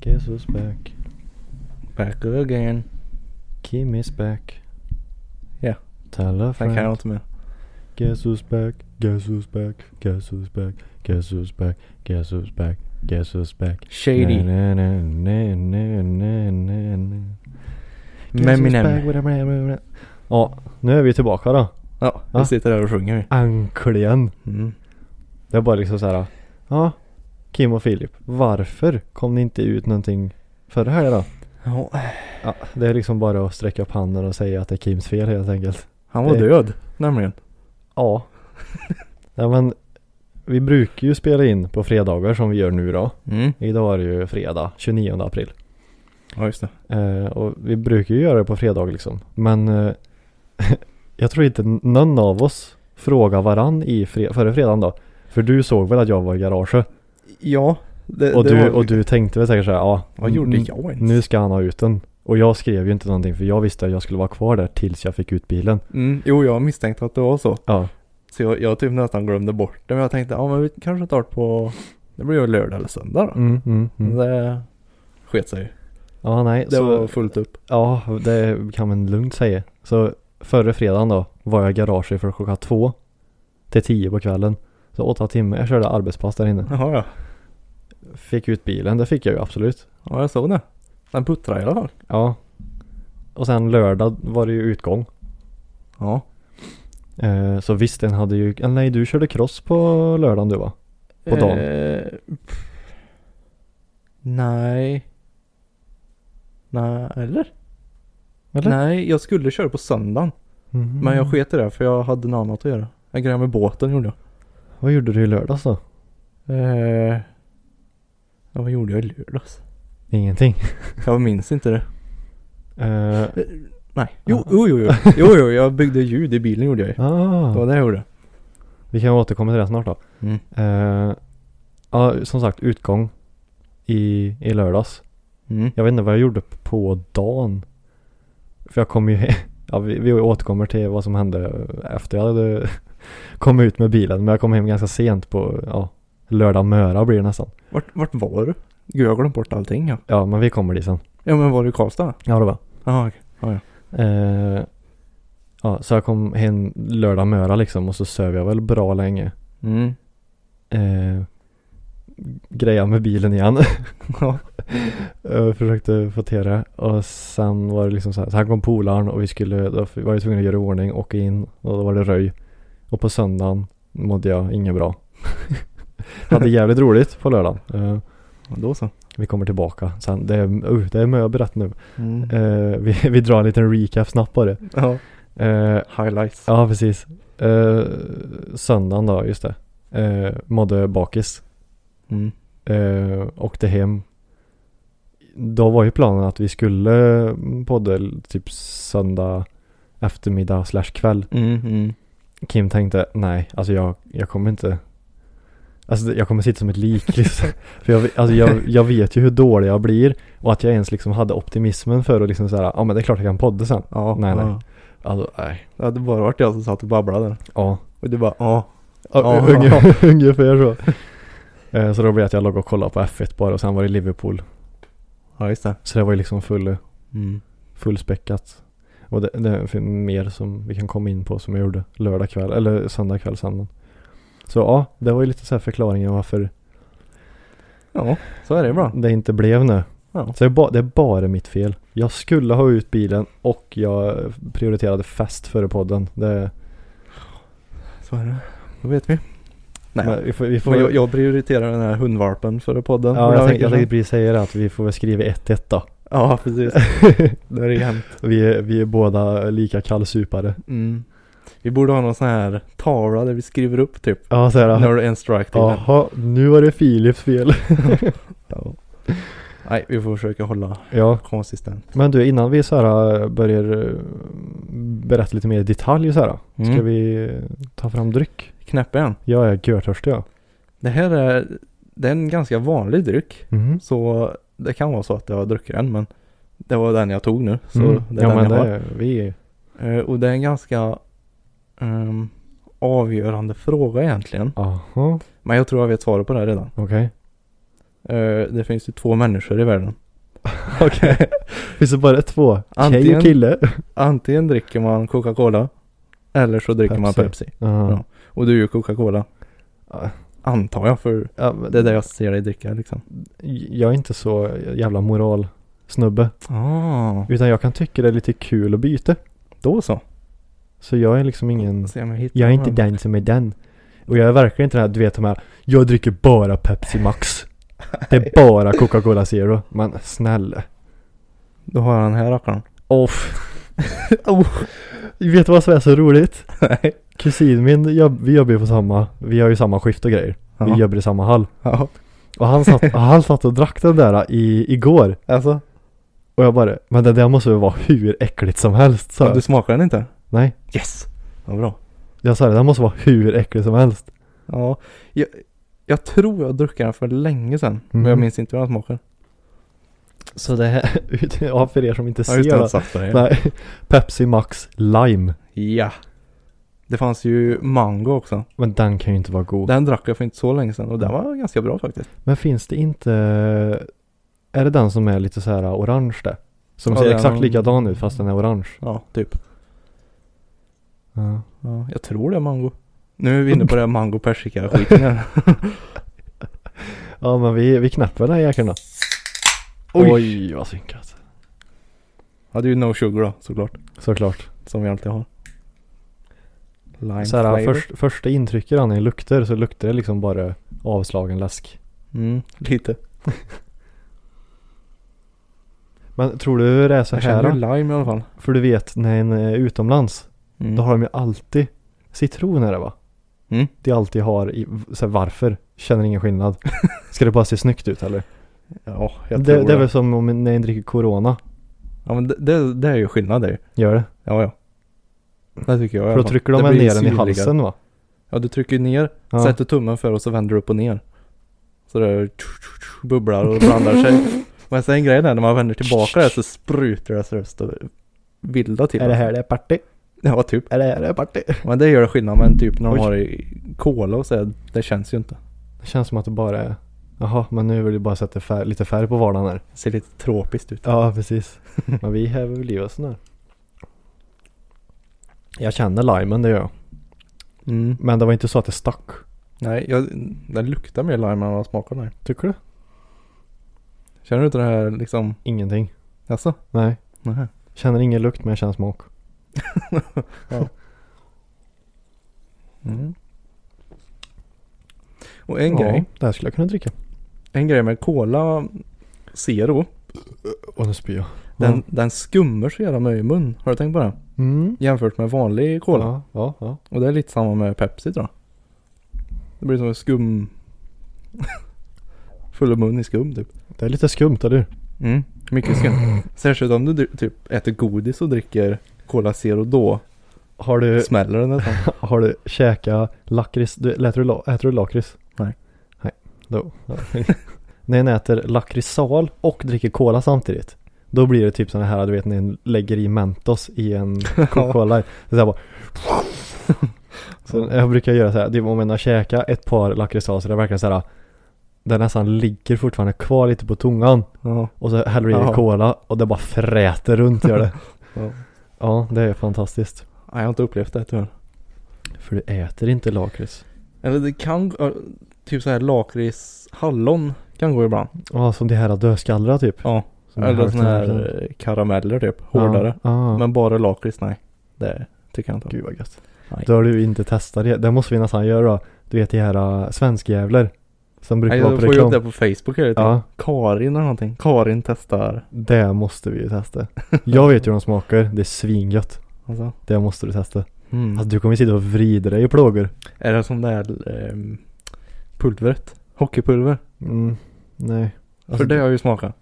Guess who's back? Back again. Kim is back. Ja. Tell a Den friend. kan jag inte med. Guess who's back? Guess who's back? Guess who's back? Guess who's back? Guess who's back? Guess who's back? Shady. Na, na, na, na, na, na, na. Guess who's back Meminem. with a bra- bra- bra. Ja, nu är vi tillbaka då. Ja, Ja. vi sitter där och sjunger. Äntligen. Mm. Det är bara liksom så här. Ja, Kim och Filip. Varför kom det inte ut någonting förra helgen då? Ja. Ja, det är liksom bara att sträcka upp handen och säga att det är Kims fel helt enkelt. Han var Det- död, nämligen. Ja. ja men vi brukar ju spela in på fredagar som vi gör nu då. Mm. Idag är det ju fredag 29 april. Ja, just det. Eh, och vi brukar ju göra det på fredag liksom. Men eh, jag tror inte någon av oss frågar varann i fre- förra fredagen då. För du såg väl att jag var i garaget? Ja. Det, Och, det du, var- och du tänkte väl säkert såhär, ja. Vad gjorde n- jag ens? Nu ska han ha ut den. Och jag skrev ju inte någonting för jag visste att jag skulle vara kvar där tills jag fick ut bilen. Mm. Jo, jag misstänkte att det var så. Ja. Så jag, jag typ nästan glömde bort det. Men jag tänkte, ja men vi kanske tar det på... Det blir ju lördag eller söndag då. Mm, mm, Men mm. Det sket sig. Ja, nej. Det så- var fullt upp. Ja, det kan man lugnt säga. Så förra fredagen då var jag i garaget från klockan två till tio på kvällen. Så åtta timmar. Jag körde arbetspass där inne. Jaha ja. Fick ut bilen, det fick jag ju absolut. Ja, jag såg det. Den puttrade i alla fall. Ja. Och sen lördag var det ju utgång. Ja. Eh, så visst, den hade ju... eller Nej, du körde cross på lördagen du va? På dagen. Eh, pff. nej. Nej, eller? Eller? Nej, jag skulle köra på söndagen. Mhm. Men jag sket i det för jag hade något annat att göra. Jag grejade med båten gjorde jag. Vad gjorde du i lördags då? Eh, ja, vad gjorde jag i lördags? Ingenting. Jag minns inte det. Eh, Nej. Jo, jo, jo. Jo, jo, jo jag byggde ljud i bilen gjorde jag ju. ah, Det var det jag gjorde. vi kan återkomma till det snart då. Mm. Eh, ja, som sagt, utgång i, i lördags. Mm. Jag vet inte vad jag gjorde på dagen. För jag kom ju he- ja, vi, vi återkommer till vad som hände efter jag hade kommit ut med bilen. Men jag kom hem ganska sent på, ja, lördag möra blir det nästan. Vart, vart var du? Gud, jag har glömt bort allting ja. Ja, men vi kommer dit sen. Ja, men var du i Karlstad? Ja, det var. Jaha, okej. Eh, ja, så jag kom hem lördag möra liksom och så söv jag väl bra länge. Mm. Eh, greja med bilen igen. Ja. Jag försökte få till det och sen var det liksom så här, så här kom polaren och vi skulle, då var jag tvungen att göra i ordning, åka in och då var det röj. Och på söndagen mådde jag inget bra. Hade jävligt roligt på lördagen. Eh, Ja, Då så. vi kommer tillbaka sen. Det är, uh, det är möber rätt nu. Mm. Eh, vi, vi drar en liten recap snabbt på det. Ja. Eh, Highlights. ja, precis. Eh, söndagen då, just det. Eh, mådde bakis. Mm. eh, åkte hem. Då var ju planen att vi skulle podda l- typ söndag eftermiddag slash kväll. Mm, Mm-hmm. mm. Kim tänkte nej, alltså jag, jag kommer inte. Alltså det- jag kommer sitta som ett lik liksom. För jag, alltså jag, jag vet ju hur dålig jag blir och att jag ens liksom hade optimismen för att liksom såhär, ja ah, men det är klart jag kan podda sen. Ja, Nej, nej. ja. Alltså nej. Det hade bara varit jag som satt och babblade. Ja. Och du bara ja. Ja, Ja. unge- Ungefär så. Eh, Så då blev det att jag låg och kollade på F1 bara och sen var det Liverpool. Ja, just det. Så det var ju liksom full Mm. fullspäckat. Och det, det är för- mer som vi kan komma in på som jag gjorde lördag kväll, eller söndag kväll sen. Så ja, det var ju lite så här förklaringen varför Ja, så är det ibland. det inte blev nu. Ja. Så det är, ba, det är bara mitt fel. Jag skulle ha ut bilen och jag prioriterade fest före podden. Det, Så är det. Då vet vi. Nej. Men, men vi får, vi får, jag, jag prioriterar den här hundvalpen före podden. ja, Den här jag, tänkte, jag veckan. tänkte precis säga det att vi får väl skriva 1-1 då. Ja, precis. Då är det jämnt. Vi är, vi är båda lika kallsupare. Mm. Vi borde ha någon sån här tavla där vi skriver upp typ. Ja, så Nu har här. du en strike till. Jaha, nu var det Philips fel. Ja. Nej, vi får försöka hålla ja, konsistent. men du innan vi så här eh, börjar eh, berätta lite mer i detalj så här. Ska Mm. vi eh, ta fram dryck? Knäppa en. Jag är görtörstig jag. Det här är, det är en ganska vanlig dryck. Mm. Så det kan vara så att jag har druckit den men det var den jag tog nu. Så Mm, det är Mm. ja, den men jag har. det, vi, Eh, och det är en ganska ehm, avgörande fråga egentligen. aha, Men jag tror jag vet svaret på det här redan. okej. Eh, det finns ju två människor i världen. Okej. Finns det bara två? Tjej Antingen- och kille? Antingen dricker man Coca-Cola eller så dricker man Pepsi. Pepsi. Ja. Och du är ju Coca-Cola. Ja. Antar jag för Ja, men det är det jag ser dig dricka liksom. Jag är inte så jävla moralsnubbe. Ah, Utan jag kan tycka det är lite kul att byta. då så. Så jag är liksom ingen... Se om jag hittar Jag är inte den. den som är den. Och jag är verkligen inte den här, du vet de här, jag dricker bara Pepsi Max. Det är bara Coca-Cola Zero. Men snälla. Då har jag den här rackaren. Off. oh. Vet du vad som är så roligt? Nej. Kusin min, jobb, vi jobbar ju på samma, vi har ju samma skift och grejer. Vi Ja. jobbar i samma hall. Ja. Och han satt, han satt och drack den där i, igår. Alltså, Och jag bara, men det där måste väl vara hur äckligt som helst. Så men du smakar den inte? Nej. Yes. Vad bra. Jag sa det, den måste vara hur äcklig som helst. Ja, jag, jag tror jag druckit den för länge sedan. Men jag Mhm. minns inte hur den smakar. Så det här, ja för er som inte Ja, ser just det, den det. satt där. Ja. Nej, Pepsi Max Lime. ja. Det fanns ju mango också. Men den kan ju inte vara god. Den drack jag för inte så länge sedan och den var ganska bra faktiskt. Men finns det inte, är det den som är lite så här orange det? Som Ja, ser den- exakt likadan ut fast den är orange. Ja, typ. Ja. Ja, jag tror det är mango. Nu är vi inne på det här mango persika skiten här. Ja men vi, vi knäpper den här jäkeln då. Oj. vad synkat. Ja, det är ju no sugar då såklart. Såklart. Som vi alltid har. Lime Så här, flavor. först, första intrycket han luktar så luktar det liksom bara avslagen läsk. Mm, lite. Men tror du det är så Jag här? känner då? lime i alla fall. För du vet när en är utomlands Mm. Då har de ju alltid citron är det va? Mm. De alltid har i, så här, varför? Känner ingen skillnad. Ska det bara se snyggt ut eller? Ja, jag tror Det, det. det är väl som om när en dricker corona. Ja, men det, det, det är ju skillnad det. Gör det? Ja, ja. Det tycker jag För i alla då fall. trycker Det de väl blir ner den i syrligare. halsen va? Ja, du trycker ner, Ja. sätter tummen för och så vänder du upp och ner. Så det bubblar och blandar sig. Men sen grejen är när man vänder tillbaka det så sprutar det seriöst och vilda till. Är det här det är party? Ja, typ. Är det här det är party? Men det gör det skillnad. Men typ när de Oj. har i kola och så, det känns ju inte. Det känns som att det bara är Jaha, men nu vill du bara sätta fär- lite färg på vardagen här. Det ser lite tropiskt ut. Ja, precis. men vi häver väl i oss den här. Jag känner limen, det gör jag. Mm. Men det var inte så att det stack. Nej, jag, den luktar mer lime än vad den smakar. Nej. Tycker du? Känner du inte det här liksom? Ingenting. Jaså? Nej. Nej. Känner ingen lukt men jag känner smak. Mm. Och en ja, grej. det här skulle jag kunna dricka. En grej med Cola Zero. Och nu spyr jag. Den, Ja. den skummar så jävla mycket i mun. Har du tänkt på det? Mm. Jämfört med vanlig Cola. Ja, ja, ja. Och det är lite samma med Pepsi tror jag. Det blir som en skum... Full mun i skum typ. Det är lite skumt, eller Mm, mycket skum. Särskilt om du dri- typ äter godis och dricker Cola Zero då Har du, smäller det nästan. har du käkat lakrits? Du, äter, du, la- äter du lakrits? Nej. Nej. Då. när en äter lakritsal och dricker cola samtidigt. Då blir det typ sådana här, du vet när en lägger i Mentos i en Coca-Cola. Det är så här bara. Så jag brukar göra så här, det är om en har käkat ett par lakritssal så det är verkligen så här. Den nästan ligger fortfarande kvar lite på tungan. Ja. Och så häller du i dig Jaha. cola och det bara fräter runt gör det. Ja. Ja, det är fantastiskt. Nej, jag har inte upplevt det tyvärr. För du äter inte lakrits. Eller det kan, ja, typ så här lakrits, hallon kan gå ibland. Ja, som de här dödskallra typ. Ja. Som är Eller hälften sådana här hälften. eh, karameller typ, hårdare. Ja, ja. Men bara lakrits, nej. Det tycker jag inte om. Gud vad gött. Nej. Då har du inte testat det. Det måste vi nästan göra då. Du vet de här uh, svenskjävlar. Som brukar Nej, vara jag på får ju upp reklam. det på Facebook hela tiden. Ja, Karin eller någonting. Karin testar. det måste vi ju testa. Jag vet hur de smakar. Det är svingött. Alltså. Det måste du testa. Mm. Alltså du kommer sitta och vrida dig i plågor. Är det sån där ehm, pulvret? Hockeypulver? Mm. Nej. Alltså, För det har jag ju smakat.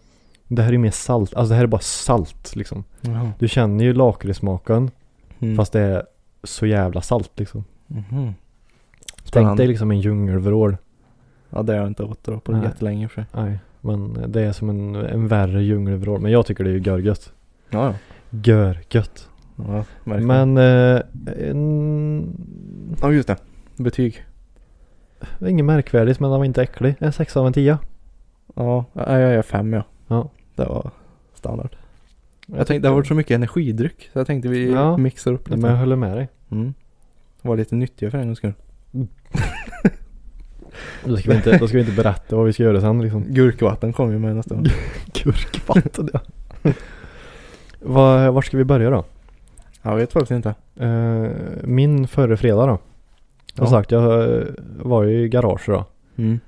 det här är ju mer salt. Alltså det här är bara salt liksom. Jaha. Du känner ju lakritssmaken Mm. fast det är så jävla salt liksom. Mhm. Tänk Spännande. dig liksom en djungelvrål. Ja det har jag inte åt då på Nej. jättelänge i och för sig. Nej. Men det är som en, en värre djungelvrål. Men jag tycker det är ju görgött. Ja, ja. Görgött. ja verkligen. Men eh, en, Ja just det. Betyg. det är inget märkvärdigt men den var inte äcklig. En sexa av en tia. Ja, ja, jag är fem ja. Ja. Det var standard. Jag tänkte det har varit så mycket energidryck så jag tänkte vi Ja. mixar upp Men jag lite. håller med dig. Mm. Var lite nyttiga för en gångs skull. Då ska, vi inte, då ska vi inte berätta vad vi ska göra sen liksom. Gurkvatten kom ju med nästa gång. Gurkvatten ja. Var, var ska vi börja då? Jag vet faktiskt inte. Eh, min förra fredag då. Som Ja. sagt, jag eh, var ju i garaget då. Mm.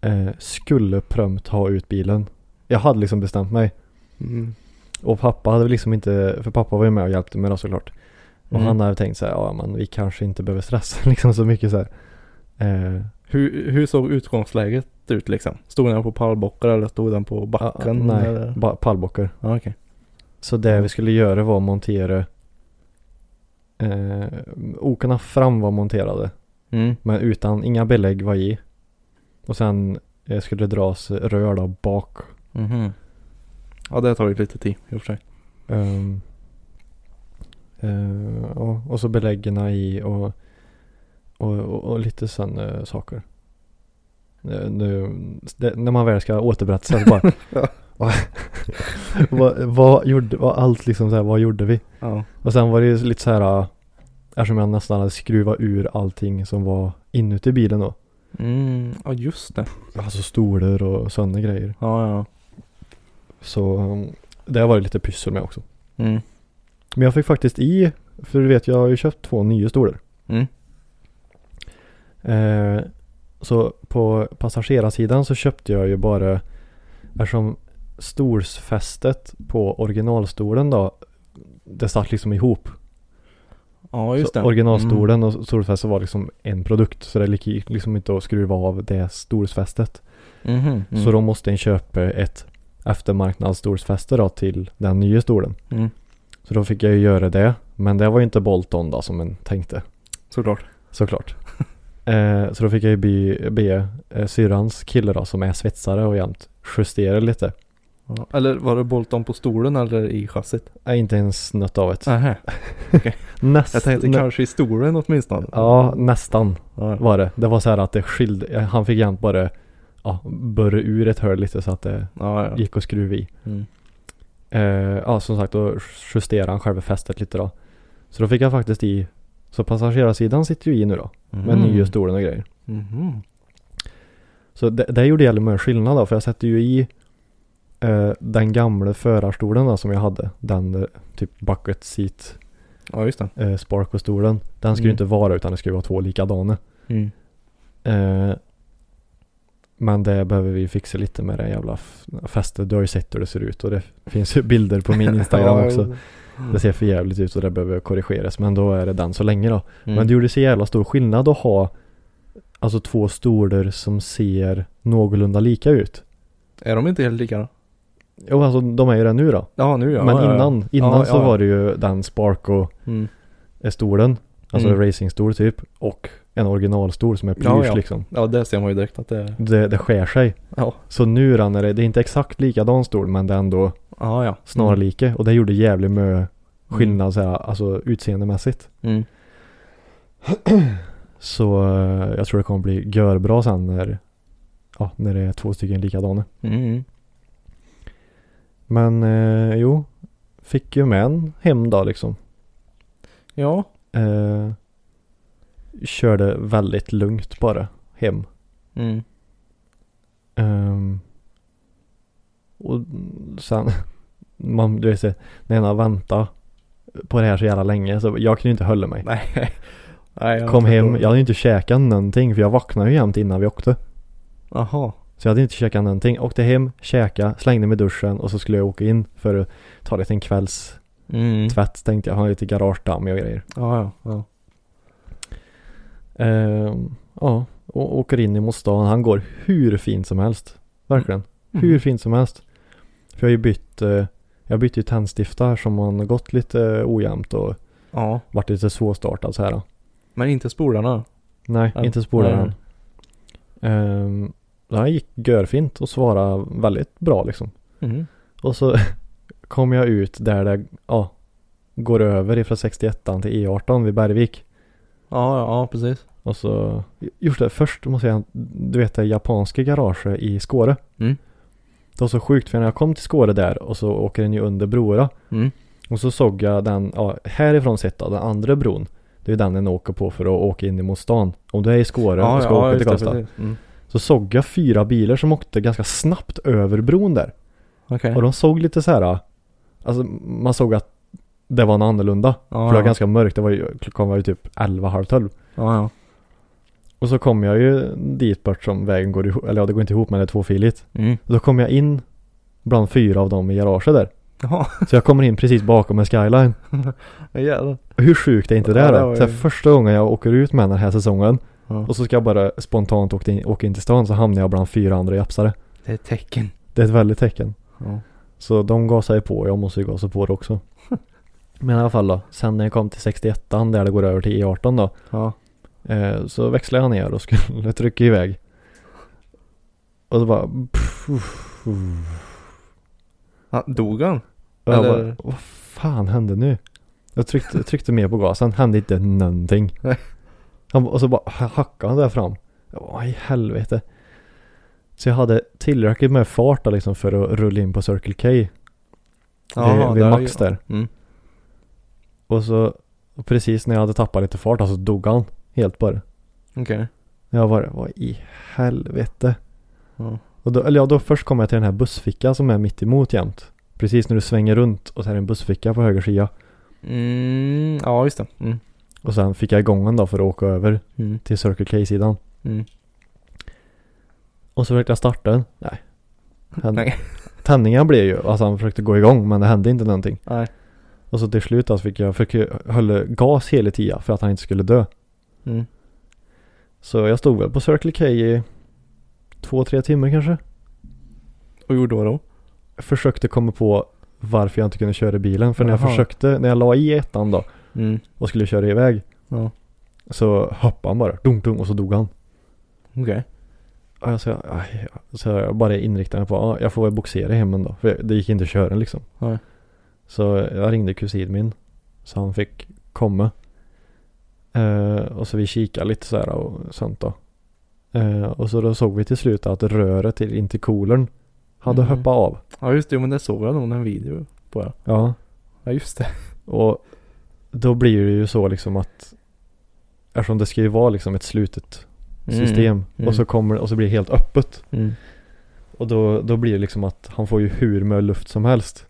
Eh, skulle prömt ha ut bilen. Jag hade liksom bestämt mig. Mm. Och pappa hade väl liksom inte, för pappa var ju med och hjälpte mig då såklart. Och Mm. han hade tänkt så här, ja men vi kanske inte behöver stressa liksom så mycket så här. Eh, Hur, hur såg utgångsläget ut liksom? Stod den på pallbockar eller stod den på backen? ah, nej, Eller? ba- pallbockar. Ja, okej. Så det vi skulle göra var att montera eh, okarna fram var monterade. Mm. Men utan, inga belägg var i. Och sen eh, skulle det dras rör då bak. Mhm. Ja, det har tagit lite tid i och för sig. Ehm, eh, ja, och så beläggarna i och, och, och, och lite sån eh, saker. Eh, nu, det, när man väl ska återberätta så här bara. Ja. vad, vad, vad gjorde, vad allt liksom så här, vad gjorde vi? Ja. Och sen var det ju lite så här. eh, Eftersom jag nästan hade skruvat ur allting som var inuti bilen då. Mm. Ja, just det. Alltså stolar och sådana grejer. Ja, ja. Så um, det var det lite pyssel med också. Mm. Men jag fick faktiskt i, för du vet jag har ju köpt två nya stolar. Mm. Eh, så på passagerarsidan så köpte jag ju bara eftersom stolsfästet på originalstolen då det satt liksom ihop. Ja, just så det. Mm. originalstolen och stolsfästet var liksom en produkt så det gick liksom inte att skruva av det stolsfästet. Mm. Mhm. Mm. Så då måste en köpa ett eftermarknadsstolsfäste då till den nya stolen. Mm. Så då fick jag ju göra det. Men det var ju inte Bolton då som en tänkte. Såklart. Såklart. eh, så då fick jag ju be, be eh, syrrans kille då som är svetsare och jämt justera lite. Ja. Eller var det Bolton på stolen eller i chassit? Nej, inte ens snött av ett. Nähä. Näst, Jag tänkte nä- kanske i stolen åtminstone. Ja, nästan Ja. ja. var det. Det var så här att det skilde. eh, Han fick jämt bara ja, börja ur ett hörn lite så att det ja, ja. gick att skruva i. Mm. Eh, ja, som sagt då justerade han själva fästet lite då. Så då fick jag faktiskt i. Så passagerarsidan sitter ju i nu då. Med Mhm. nya stolen och grejer. Mhm. Så det, det gjorde jävligt mycket skillnad då, för jag sätter ju i eh, den gamla förarstolen då, som jag hade. Den eh, typ bucket seat Ja, just det. eh, Sparko-stolen. Den ska ju Mm. inte vara utan det ska ju vara två likadana. Mm. Eh, men det behöver vi fixa lite med det jävla f- fästet. Du har ju sett hur det ser ut och det finns ju bilder på min Instagram Ja, också. jo. Det ser för jävligt ut och det behöver korrigeras. Men då är det den så länge då. Mm. Men det gjorde så jävla stor skillnad att ha alltså två stolar som ser någorlunda lika ut. Är de inte helt lika då? Jo, alltså de är ju det nu då. Ja, nu ja. Men ja, ja, ja. innan, innan Ja, så ja, ja. var det ju den Sparko-stolen, Mm. alltså Mm. racingstol typ, och en originalstol som är plysch Ja, ja. liksom. Ja, det ser man ju direkt att det är. Det, det skär sig. Ja. Så nu rann det, det är inte exakt likadan stol men det är ändå Ja, ja. snarlika Mm. och det gjorde jävligt mycket skillnad så här, alltså utseendemässigt. Mm. Så eh, jag tror det kommer bli görbra sen när, ja, när det är två stycken likadana. Mm. Mm. Men eh, jo, fick ju med en hem då liksom. Ja. Eh, körde väldigt lugnt bara hem. Mm. Ehm, och sen, man, du vet, så, när jag väntade på det här så jävla länge så jag kunde ju inte hålla mig. Nej. Nej jag Kom hem, jag förstår. hade ju inte käkat någonting för jag vaknade ju jämt innan vi åkte. Jaha. Så jag hade inte käkat någonting. Åkte hem, käka, slängde mig i duschen och så skulle jag åka in för att ta lite en kvälls Mm. Tvätt tänkte jag, han har lite garagedamm och grejer. Ja, ja, ja. Ehm, ja, och åker in mot stan. Han går hur fint som helst. Verkligen. Mm. Hur fint som helst. För jag har ju bytt, eh, jag bytte ju tändstiftar som han gått lite eh, ojämnt och Ja, varit lite svårstartad så här. Då. men inte spolarna. Nej, Ja. inte spolade Nej. han. Ehm, han gick görfint och svarade väldigt bra liksom. Mm. Och så kom jag ut där det ja, går över ifrån 61 till E18 vid Bergvik. Ja, ja, ja, precis. Och så, just det, först måste jag säga, du vet det japanska garaget i Skåre. Mm. Det var så sjukt för när jag kom till Skåre där och så åker den ju under Brora. Mm. Och så såg jag den, ja, härifrån sett då, den andra bron. Det är den den åker på för att åka in mot stan. Om du är i Skåre och ska åka till just det, Karlstad. precis. Mm. Så såg jag fyra bilar som åkte ganska snabbt över bron där. Okej. Och de såg lite så här. Alltså man såg att det var något annorlunda. Ja, För det var ja. ganska mörkt. Det var ju, klockan var ju typ 11, halv 12. Ja, ja. Och så kom jag ju dit bort som vägen går ihop. Eller ja, det går inte ihop men det är tvåfiligt. Mm. Och då kom jag in bland fyra av dem i garaget där. Jaha, Så jag kommer in precis bakom en skyline. ja, jävlar. Och Hur sjukt är inte det Ja, det då? var ju- Så här, första gången jag åker ut med den här säsongen. Ja. Och så ska jag bara spontant åka in, åka in till stan så hamnar jag bland fyra andra japsare. Det är ett tecken. Det är ett väldigt tecken. Ja. Så de gasar ju på och jag måste ju gasa på det också. Men i alla fall då. Sen när jag kom till 61 där det går över till E18 då. Ja. Eh, så växlade jag ner och skulle trycka iväg. Och då bara... Pff, Ja, dog han? och jag Eller- bara vad fan hände nu? Jag tryckte, tryckte mer på gasen, hände inte någonting. Nej. Han, och så bara ha- hackade han där fram. Jag bara, Vad i helvete. Så jag hade tillräckligt med fart då, liksom för att rulla in på Circle K. Jaha, vid, vid där- Max där. Mm. Och så och precis när jag hade tappat lite fart, alltså dog han helt bara. Okej. Jag bara, vad i helvete? Ja. Och då, eller ja, då först kom jag till den här bussfickan som är mitt emot jämt. Precis när du svänger runt och så är det en bussficka på höger sida. Mm, ja, just det. Mm. Och sen fick jag igång den då för att åka över Mm. till Circle K-sidan. Mm. Och så försökte jag starta den. Nej. Hän- Nej. Tändningen blev ju, alltså han försökte gå igång men det hände inte någonting. Nej. Och så till slut alltså fick jag, fick, höll gas hela tiden för att han inte skulle dö. Mm. Så jag stod väl på Circle K i två, tre timmar kanske. Och gjorde vad då? Försökte komma på varför jag inte kunde köra bilen. För när jag Jaha. försökte, när jag la i ettan då Mm. och skulle köra iväg. Ja. Så hoppade han bara, dunk, dunk och så dog han. Okej. Och jag sa, aj, så jag bara inriktade mig på, ah, jag får väl boxera hem en då. För det gick inte att köra den liksom. Nej. Så jag ringde kusin min. Så han fick komma. Eh, och så vi kikade lite så här och sånt då. Eh, och så då såg vi till slut att röret till intercoolern hade Mm. hoppat av. Ja, just det. Jo, Men det såg jag nog en video på. Ja, Ja. ja just det. Och då blir det ju så liksom att eftersom det ska ju vara liksom ett slutet system Mm. och så kommer och så blir det helt öppet. Mm. Och då, då blir det liksom att han får ju hur med luft som helst.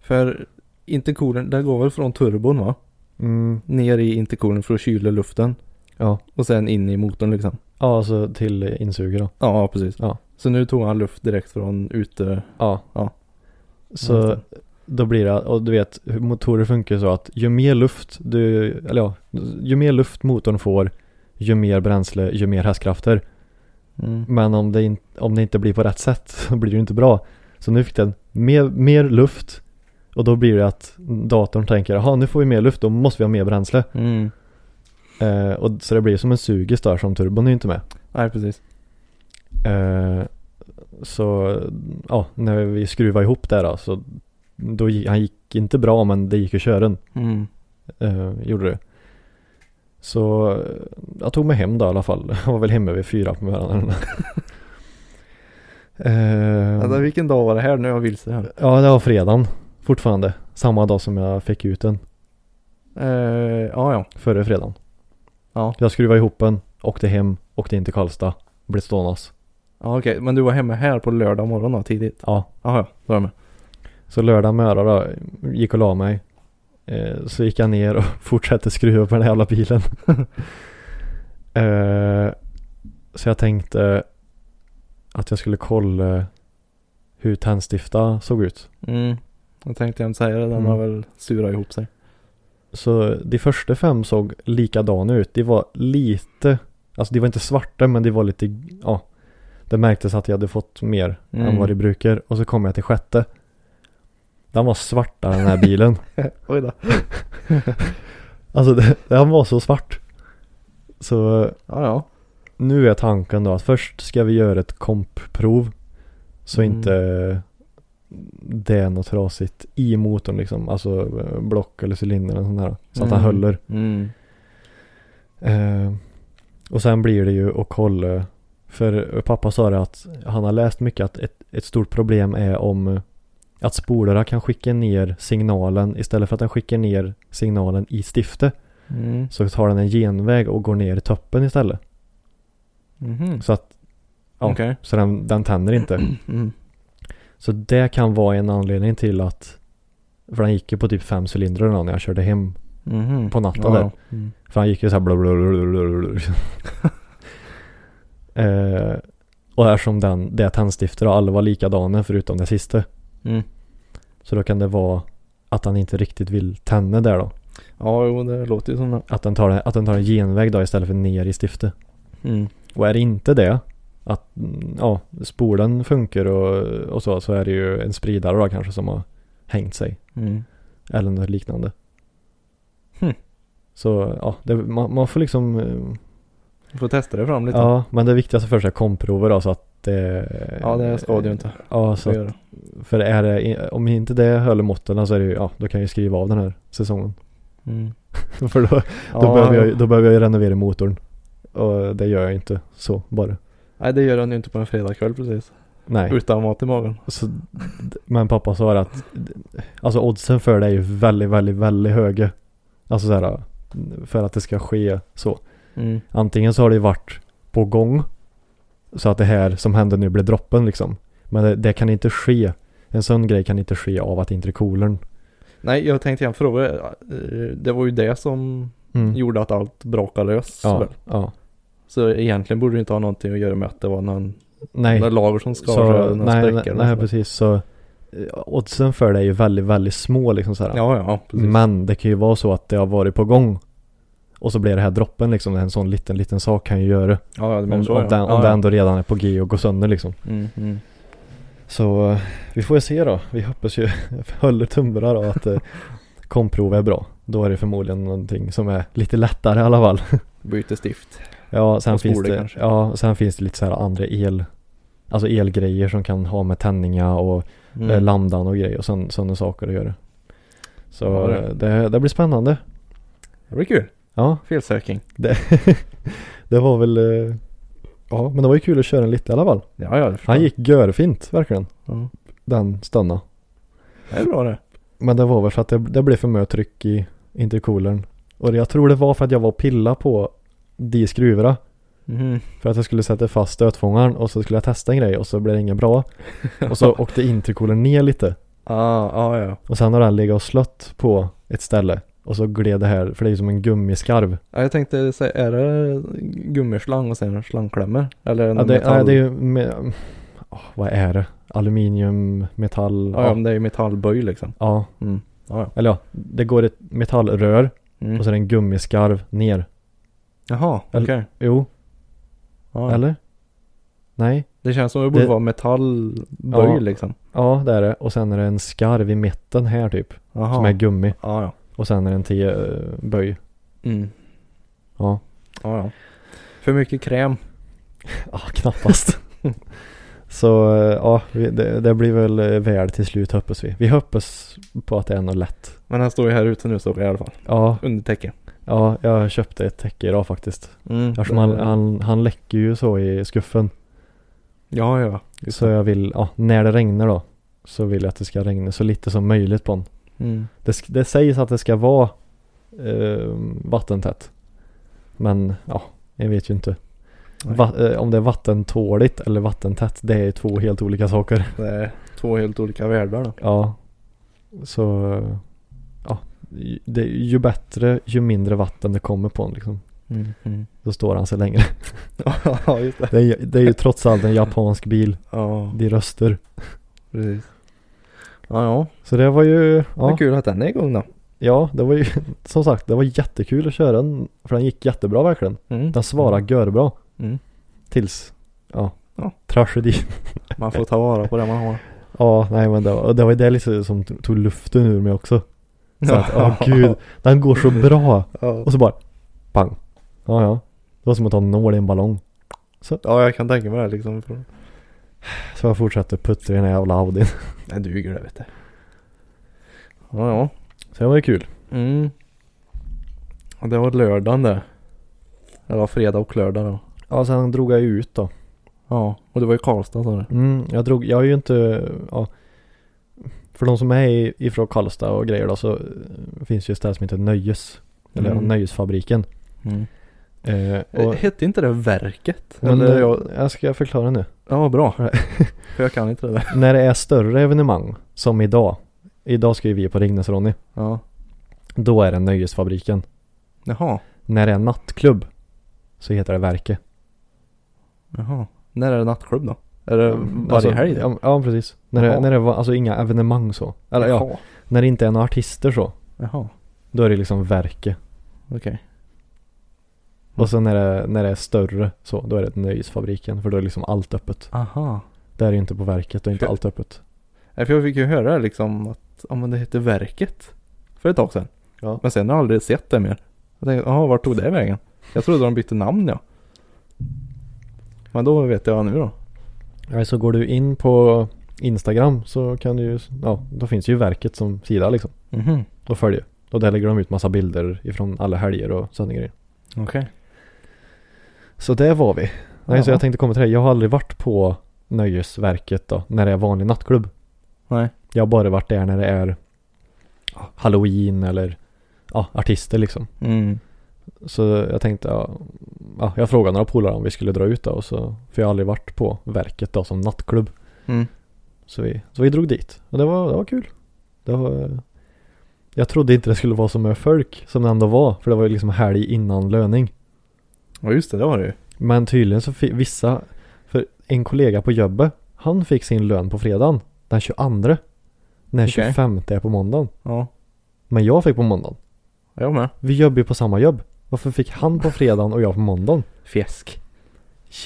För intercoolern, det går väl från turbon va? Mm. Ner i intercoolern för att kyla luften. Ja. Och sen in i motorn liksom. Ja, alltså till insuger då. Ja, ja, precis. Ja. Så nu tog han luft direkt från ute. Ja. Ja. Så då blir det, och du vet, hur motorer funkar ju så att ju mer luft du, eller ja, ju mer luft motorn får, ju mer bränsle, ju mer hästkrafter. Mm. Men om det, in, om det inte blir på rätt sätt så blir det ju inte bra. Så nu fick den mer, mer luft och då blir det att datorn tänker, jaha nu får vi mer luft, då måste vi ha mer bränsle. Mm. Eh, och så det blir som en sugis där som turbon är ju inte med. Nej, precis. Eh, så ja, när vi skruvade ihop det då så då gick, han gick inte bra men det gick att köra den. Mm. Eh, gjorde det. Så eh, jag tog mig hem då i alla fall. Jag var väl hemma vid fyra på morgonen. eh, Alltså, vilken dag var det här? Nu är jag vilse här. Ja, det var fredagen fortfarande. Samma dag som jag fick ut den. Eh, ja, ja. Förra fredagen. Ja, Jag skruvade ihop den, åkte hem, åkte in till Karlstad. Blev stånas. ja okej. Men du var hemma här på lördag morgon då, tidigt? Ja, Jaha, ja. Då är jag med. så lördag morgon då, gick och la mig. Eh, så gick jag ner och fortsatte skruva på den här jävla bilen. eh, så jag tänkte att jag skulle kolla hur tändstifta såg ut. Mm. Jag tänkte jag inte säga det, den Mm. har väl surat ihop sig. Så de första fem såg likadana ut. De var lite, alltså de var inte svarta men de var lite, ja. Det märktes att jag hade fått mer Mm. än vad de brukar. Och så kom jag till sjätte. Den var svartare den här bilen. Oj då. Alltså det, den var så svart. Så Ja, ja. nu är tanken då att först ska vi göra ett kompprov. Så Mm. inte eh, det är något trasigt i motorn liksom. Alltså eh, block eller cylinder eller sånt där. Så att den Mm. håller. Mm. Eh, och sen blir det ju att kolla. För eh, pappa sa det att han har läst mycket att ett, ett stort problem är om eh, att spolarna kan skicka ner signalen istället för att den skickar ner signalen i stiftet Mm. så tar den en genväg och går ner i toppen istället. Mhm. Så att ja, Okej. så den, den tänder inte. Mm. Så det kan vara en anledning till att för den gick ju på typ fem cylindrar då när jag körde hem. Mhm. På natten ja, där. Ja. Mm. För han gick ju så här blablabla. eh, och eftersom den, det är tändstifter och alla var likadana förutom det sista. Mm. Så då kan det vara att han inte riktigt vill tända där då. ja, jo det låter ju som det. Att den tar, att den tar en genväg då istället för ner i stiftet. Mm. Och är det inte det, att mm, ja, spolen funkar och, och så, så är det ju en spridare då kanske som har hängt sig. Mm. Eller något liknande. Hmm. Så ja, det, man, man får liksom, eh, Du får testa det fram lite. ja, men det viktigaste för sig är komprover då så att det, ja det ska du ju inte. Ja, så Så. att, göra. för är det, om inte det höll måtten så är det ju, ja, då kan jag ju skriva av den här säsongen. Mm. för då, då, Ja. behöver jag, ju- då behöver jag ju renovera motorn. Och det gör jag inte så bara. Nej det gör han ju inte på en fredagkväll precis. Nej. Utan mat i magen. Så, d- men pappa sa det att alltså oddsen för det är ju väldigt, väldigt, väldigt höga. Alltså så här, för att det ska ske så. Mm. Antingen så har det ju varit på gång så att det här som hände nu blir droppen liksom. Men det, det kan inte ske. En sån grej kan inte ske av att intercoolern. Nej jag tänkte igen fråga. eh, Det var ju det som Mm. gjorde att allt brakade lös. ja, väl? ja. Så egentligen borde det inte ha någonting att göra med att det var någon Nej. några lager som skar Så, sig. några nej, nej, sprickor och nej, sådär. precis. Så eh, oddsen för det är ju väldigt, väldigt små liksom så här. Ja ja precis. Men det kan ju vara så att det har varit på gång. Och så blir det här droppen liksom. En sån liten, liten sak kan ju göra. ja ja du Om, menar om, så ja. den, ja, om ja. den då redan är på G och går sönder liksom. Mm, mm. Så eh, vi får ju se då. Vi hoppas ju, håller tummarna då att eh, komprov är bra. Då är det förmodligen någonting som är lite lättare i alla fall. Byter stift. Ja, sen Och finns spoler det, kanske. ja, sen finns det lite så här andra el, alltså elgrejer som kan ha med tändningar och Mm. eh, lambdan och grejer och sådana saker att göra. Så Ja, det- eh, det, det blir spännande. Det blir kul. Ja, Felsöking. Det, det var väl eh, Ja men det var ju kul att köra en lite i alla fall Ja ja det förstår Han jag. gick görfint verkligen Ja. Den stanna Det är bra det. Men det var väl för att det, det blev för mycket tryck i intercoolern Och jag tror det var för att jag var och pilla på de skruvarna Mhm. För att jag skulle sätta fast stötfångaren och så skulle jag testa en grej och så blev det inget bra Och så åkte intercoolern ner lite Ah, ah, ja Och sen har den legat och slött på ett ställe Och så gled det här, för det är ju som en gummiskarv ja. Jag tänkte säga, är det gummislang och sen slangklämmor? Eller en Ja, det, metall? nej, det är ju med, åh, vad är det? Aluminium, metall, Ja, ja, ja. men det är ju metallböj liksom. ja. Mm. Ja, ja. Eller ja, det går ett metallrör Mm. och så är det en gummiskarv ner. Jaha, okej. Eller- Jo, Ja, ja. eller? Nej? Det känns som det borde Det- vara metallböj Ja. liksom. Ja, det är det. Och sen är det en skarv i mitten här typ. Jaha. Som är gummi. Ja, ja. Och sen är det en eh, T-böj. Mm. Ja. Ja, ja. För mycket kräm. Ja, Ah, knappast. så eh, ja, vi- det, det blir väl eh, väl till slut hoppas vi. Vi hoppas på att det är något lätt. Men han står ju här ute nu så i alla fall. Ja, Under täcket. ja, jag köpte ett täcke idag faktiskt. Mm. Eftersom han, han, han läcker ju så i skuffen. Ja, ja. Så jag vill, ja, när det regnar då. Så vill jag att det ska regna så lite som möjligt på den. Mm. Det, sk- det sägs att det ska vara eh, vattentätt. Men ja, jag vet ju inte. Nej. Va, eh, om det är vattentåligt eller vattentätt, det är två helt olika saker. Det är två helt olika världar då. Ja. Så, eh, ja. ju- Det, ju bättre, ju mindre vatten det kommer på den liksom. Mm. Mm. Då står han sig längre. ja, just det. Det är, det är ju trots allt en japansk bil. Ja, De röster. precis. Ja, ja. Så det var ju, Vad ja, kul att den är igång då. ja det var ju som sagt det var jättekul att köra den för den gick jättebra verkligen. Mm. Den svarade görbra Mm. tills, ja, Ja. tragedi. Man får ta vara på det man har. Ja, nej men det var, och det var det liksom som tog luften ur mig också. Så att, åh Ja. gud, den går så bra. Ja. Och så bara, pang. Ja, ja. Det var som att ta en nål i en ballong. ja, jag kan tänka mig det liksom. Från... Så jag fortsatte puttra i den här jävla Audin. Det duger det vet du. Ja, ja. Så det var ju kul. Mm. Och det var lördagen det. Eller fredag och lördag då. Ja, sen drog jag ju ut då. Ja, och det var i Karlstad sa du. Mm, jag drog, jag är ju inte, ja. För de som är i- ifrån Karlstad och grejer då så eh, finns det ju ett ställe som heter Nöjes. Eller Mm. Nöjesfabriken. Mm. Eh, och, Hette inte det verket? men Eller, jag, jag... jag ska förklara nu. Ja, bra. För jag kan inte det där. När det är större evenemang, som idag. Idag ska ju vi på Ringnes Ronny. Ja. Då är det Nöjesfabriken. Jaha. När det är nattklubb så heter det Verke. Jaha. När är det nattklubb då? Eh, Är det varje Alltså, helg? då? Ja, ja precis. När det, Jaha. när det var, alltså inga evenemang så. Eller ja, Jaha. när det inte är några artister så. Jaha. Då är det liksom Verke. Okej. Och sen när det, när det är större så, då är det Nöjesfabriken. För då är liksom allt öppet. Aha. Där är ju inte på verket och inte För- allt öppet. Nej, för jag fick ju höra liksom att, ja men det hette verket. För ett tag sedan. Ja. Men sen har jag aldrig sett det mer. Jag tänkte, jaha vart tog det vägen? Jag trodde de bytte namn ja. Men då vet jag nu då. Ja, så går du in på Instagram så kan du ju, ja, då finns ju verket som sida liksom. Mhm. Och följer. Och där lägger de ut massa bilder ifrån alla helger och sådana grejer. Okej. Så där var vi. Nej, så Ja. jag tänkte komma till det. Jag har aldrig varit på Nöjesverket då, när det är vanlig nattklubb. Nej. Jag har bara varit där när det är ja, halloween eller ja, artister liksom. Mm. Så jag tänkte, ja, ja, jag frågade några polare om vi skulle dra ut då, och så, för jag har aldrig varit på verket då som nattklubb. Mm. Så vi, så vi drog dit och det var, det var kul. Det var, jag trodde inte det skulle vara så mycket folk som det ändå var, för det var ju liksom helg innan löning. Ja just det, det var det ju. Men tydligen så fick vissa, för en kollega på jobbet, han fick sin lön på fredagen den 22. När Okej. 25 är på måndagen. Ja. Men jag fick på måndagen. Jag med. Vi jobbar ju på samma jobb. Varför fick han på fredagen och jag på måndagen? Fjäsk.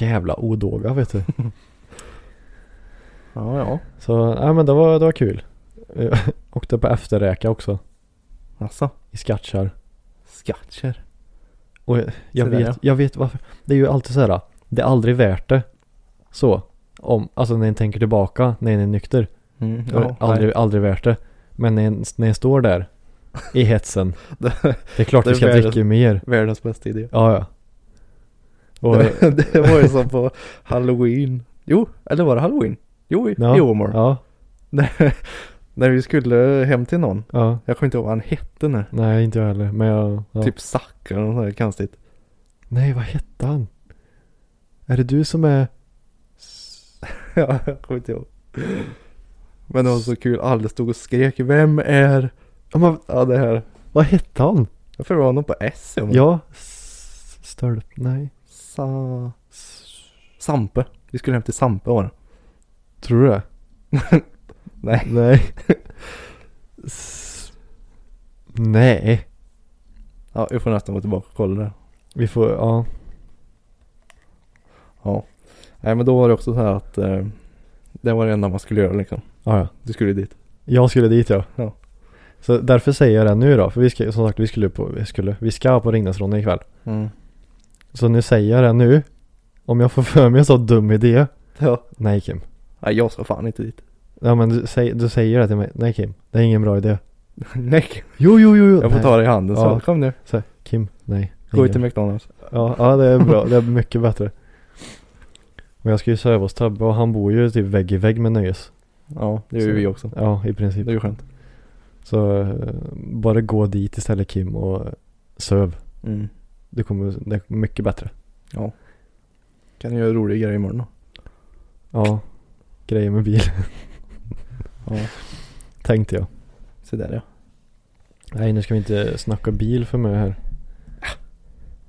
Jävla odåga vet du. Ja ja. Så, nej men det var, det var kul. Eh, Åkte på efterräka också. Alltså. I skattkärr. Skatcher. Och jag, jag Så där, vet, ja. jag vet varför. Det är ju alltid så här. Det är aldrig värt det. Så. Om, alltså när ni tänker tillbaka när ni är nykter. Mm. Då är det aldrig, aldrig värt det. Men när jag, när jag står där i hetsen. Det- det är klart det vi ska är väl- dricka mer. Världens bästa idé. Ja, ja. Och, det, det var ju som på halloween. Jo, eller var det halloween? Jo, i ja, i Åmål. Ja, När, när vi skulle hem till någon. ja. Jag kommer inte ihåg vad han hette nu. Nej, inte jag heller. Men jag... Ja. Typ Zack eller något sånt där konstigt. Nej, vad hette han? Är det du som är... ja, jag kommer inte ihåg. Men det var så kul. Alla stod och skrek. Vem är... Ja, men Ja, det här. vad hette han? Jag tror det var någon på S. men- Ja. S- Stölp... Nej. Sa... Sampe. Vi skulle hem till Sampe var det. Tror du det? Nej. Nej. S- Nej. Ja, jag får nästan gå tillbaka och kolla det. Vi får... Ja. Ja. Nej, men då var det också så här att eh, det var det enda man skulle göra liksom. Ja, ja. Du skulle dit. Jag skulle dit ja. Ja. Så därför säger jag det nu då. För vi ska, som sagt, vi skulle på... Vi, skulle, vi ska på Ringnesrundan ikväll. Mm. Så nu säger jag det nu. Om jag får för mig en så dum idé. Ja. Nej Kim. Nej, jag ska fan inte dit. Ja men du, säg, du säger det till mig. Nej Kim. Det är ingen bra idé. Nej, Jo, jo, jo. jo. jag får Nej. ta dig i handen så. Ja. Kom nu. Så här, Kim, nej. Gå ut Ingen. till McDonalds. Ja, ja, det är bra. Det är mycket bättre. Men jag ska ju sova hos Tobbe och han bor ju typ vägg i vägg med Nöjes. Ja, det gör Så. ju vi också. Ja, i princip. Det är ju skönt. Så eh, bara gå dit istället Kim och söv. Mm. Det kommer, det är mycket bättre. Kan du göra roliga grejer imorgon då? Ja, grejer med bil. Ja, Tänkte jag. så där ja. Nej, nu ska vi inte snacka bil för mig här.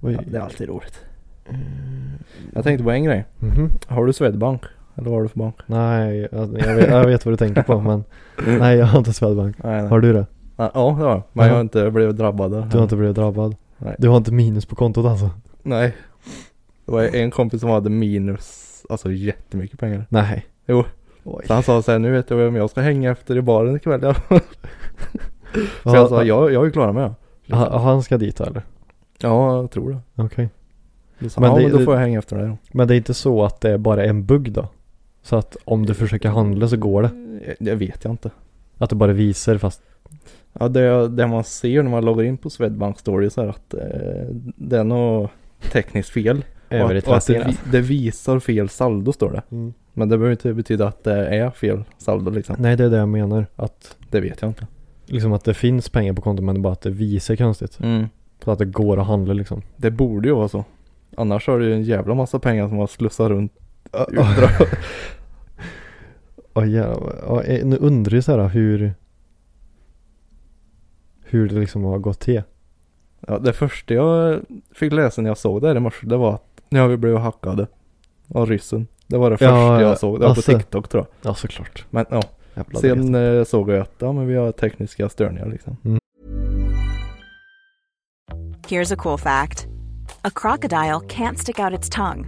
Oj. Mm. ja. Det är alltid roligt. Jag tänkte på en grej. Mhm. Har du Swedbank? Eller vad har du för bank? Nej, jag, jag, vet, jag vet vad du tänker på men nej jag har inte Swedbank. Nej, nej. Har du det? Nej, ja, det har jag. Men jag har inte blivit drabbad. där. Du har inte blivit drabbad? Nej. Du har inte minus på kontot alltså? Nej. Det var en kompis som hade minus, alltså jättemycket pengar. Nej. Jo. Oj. Så han sa såhär, nu vet jag vem jag ska hänga efter i baren ikväll. Så jag sa, Ha- jag, jag är ju klar med det. ha- Han ska dit eller? Ja, jag tror det. Okej. Då sa, Men men ja, det- men då det- får jag hänga efter dig då. Men det är inte så att det är bara en bugg då? Så att om du försöker handla så går det? Eh, Det vet jag inte. Att du bara visar fast Ja, det, det man ser när man loggar in på Swedbank Stories är att eh, det är något tekniskt fel. Och att, övrigt och att det, placerat? vi- det visar fel saldo står det. Mm. Men det behöver inte betyda att det är fel saldo liksom. Nej det är det jag menar. Att, Det vet jag inte. liksom att det finns pengar på kontot men bara att det visar konstigt. Så att det går att handla liksom. Det borde ju vara så. Annars har du ju en jävla massa pengar som har slussat runt. Undrar- Oh, ja, ja, eh, nu undrar jag så här hur hur det liksom har gått till. Ja, det första jag fick läsa när jag såg det här i morse, det var att nu har vi blivit hackade av ryssen. Det var det första Ja, jag såg. Det var alltså. på TikTok tror jag. Ja såklart. Men ja, Jävla sen eh, såg jag att ja, men vi har tekniska störningar liksom. Here's a cool fact a crocodile can't stick out its tongue.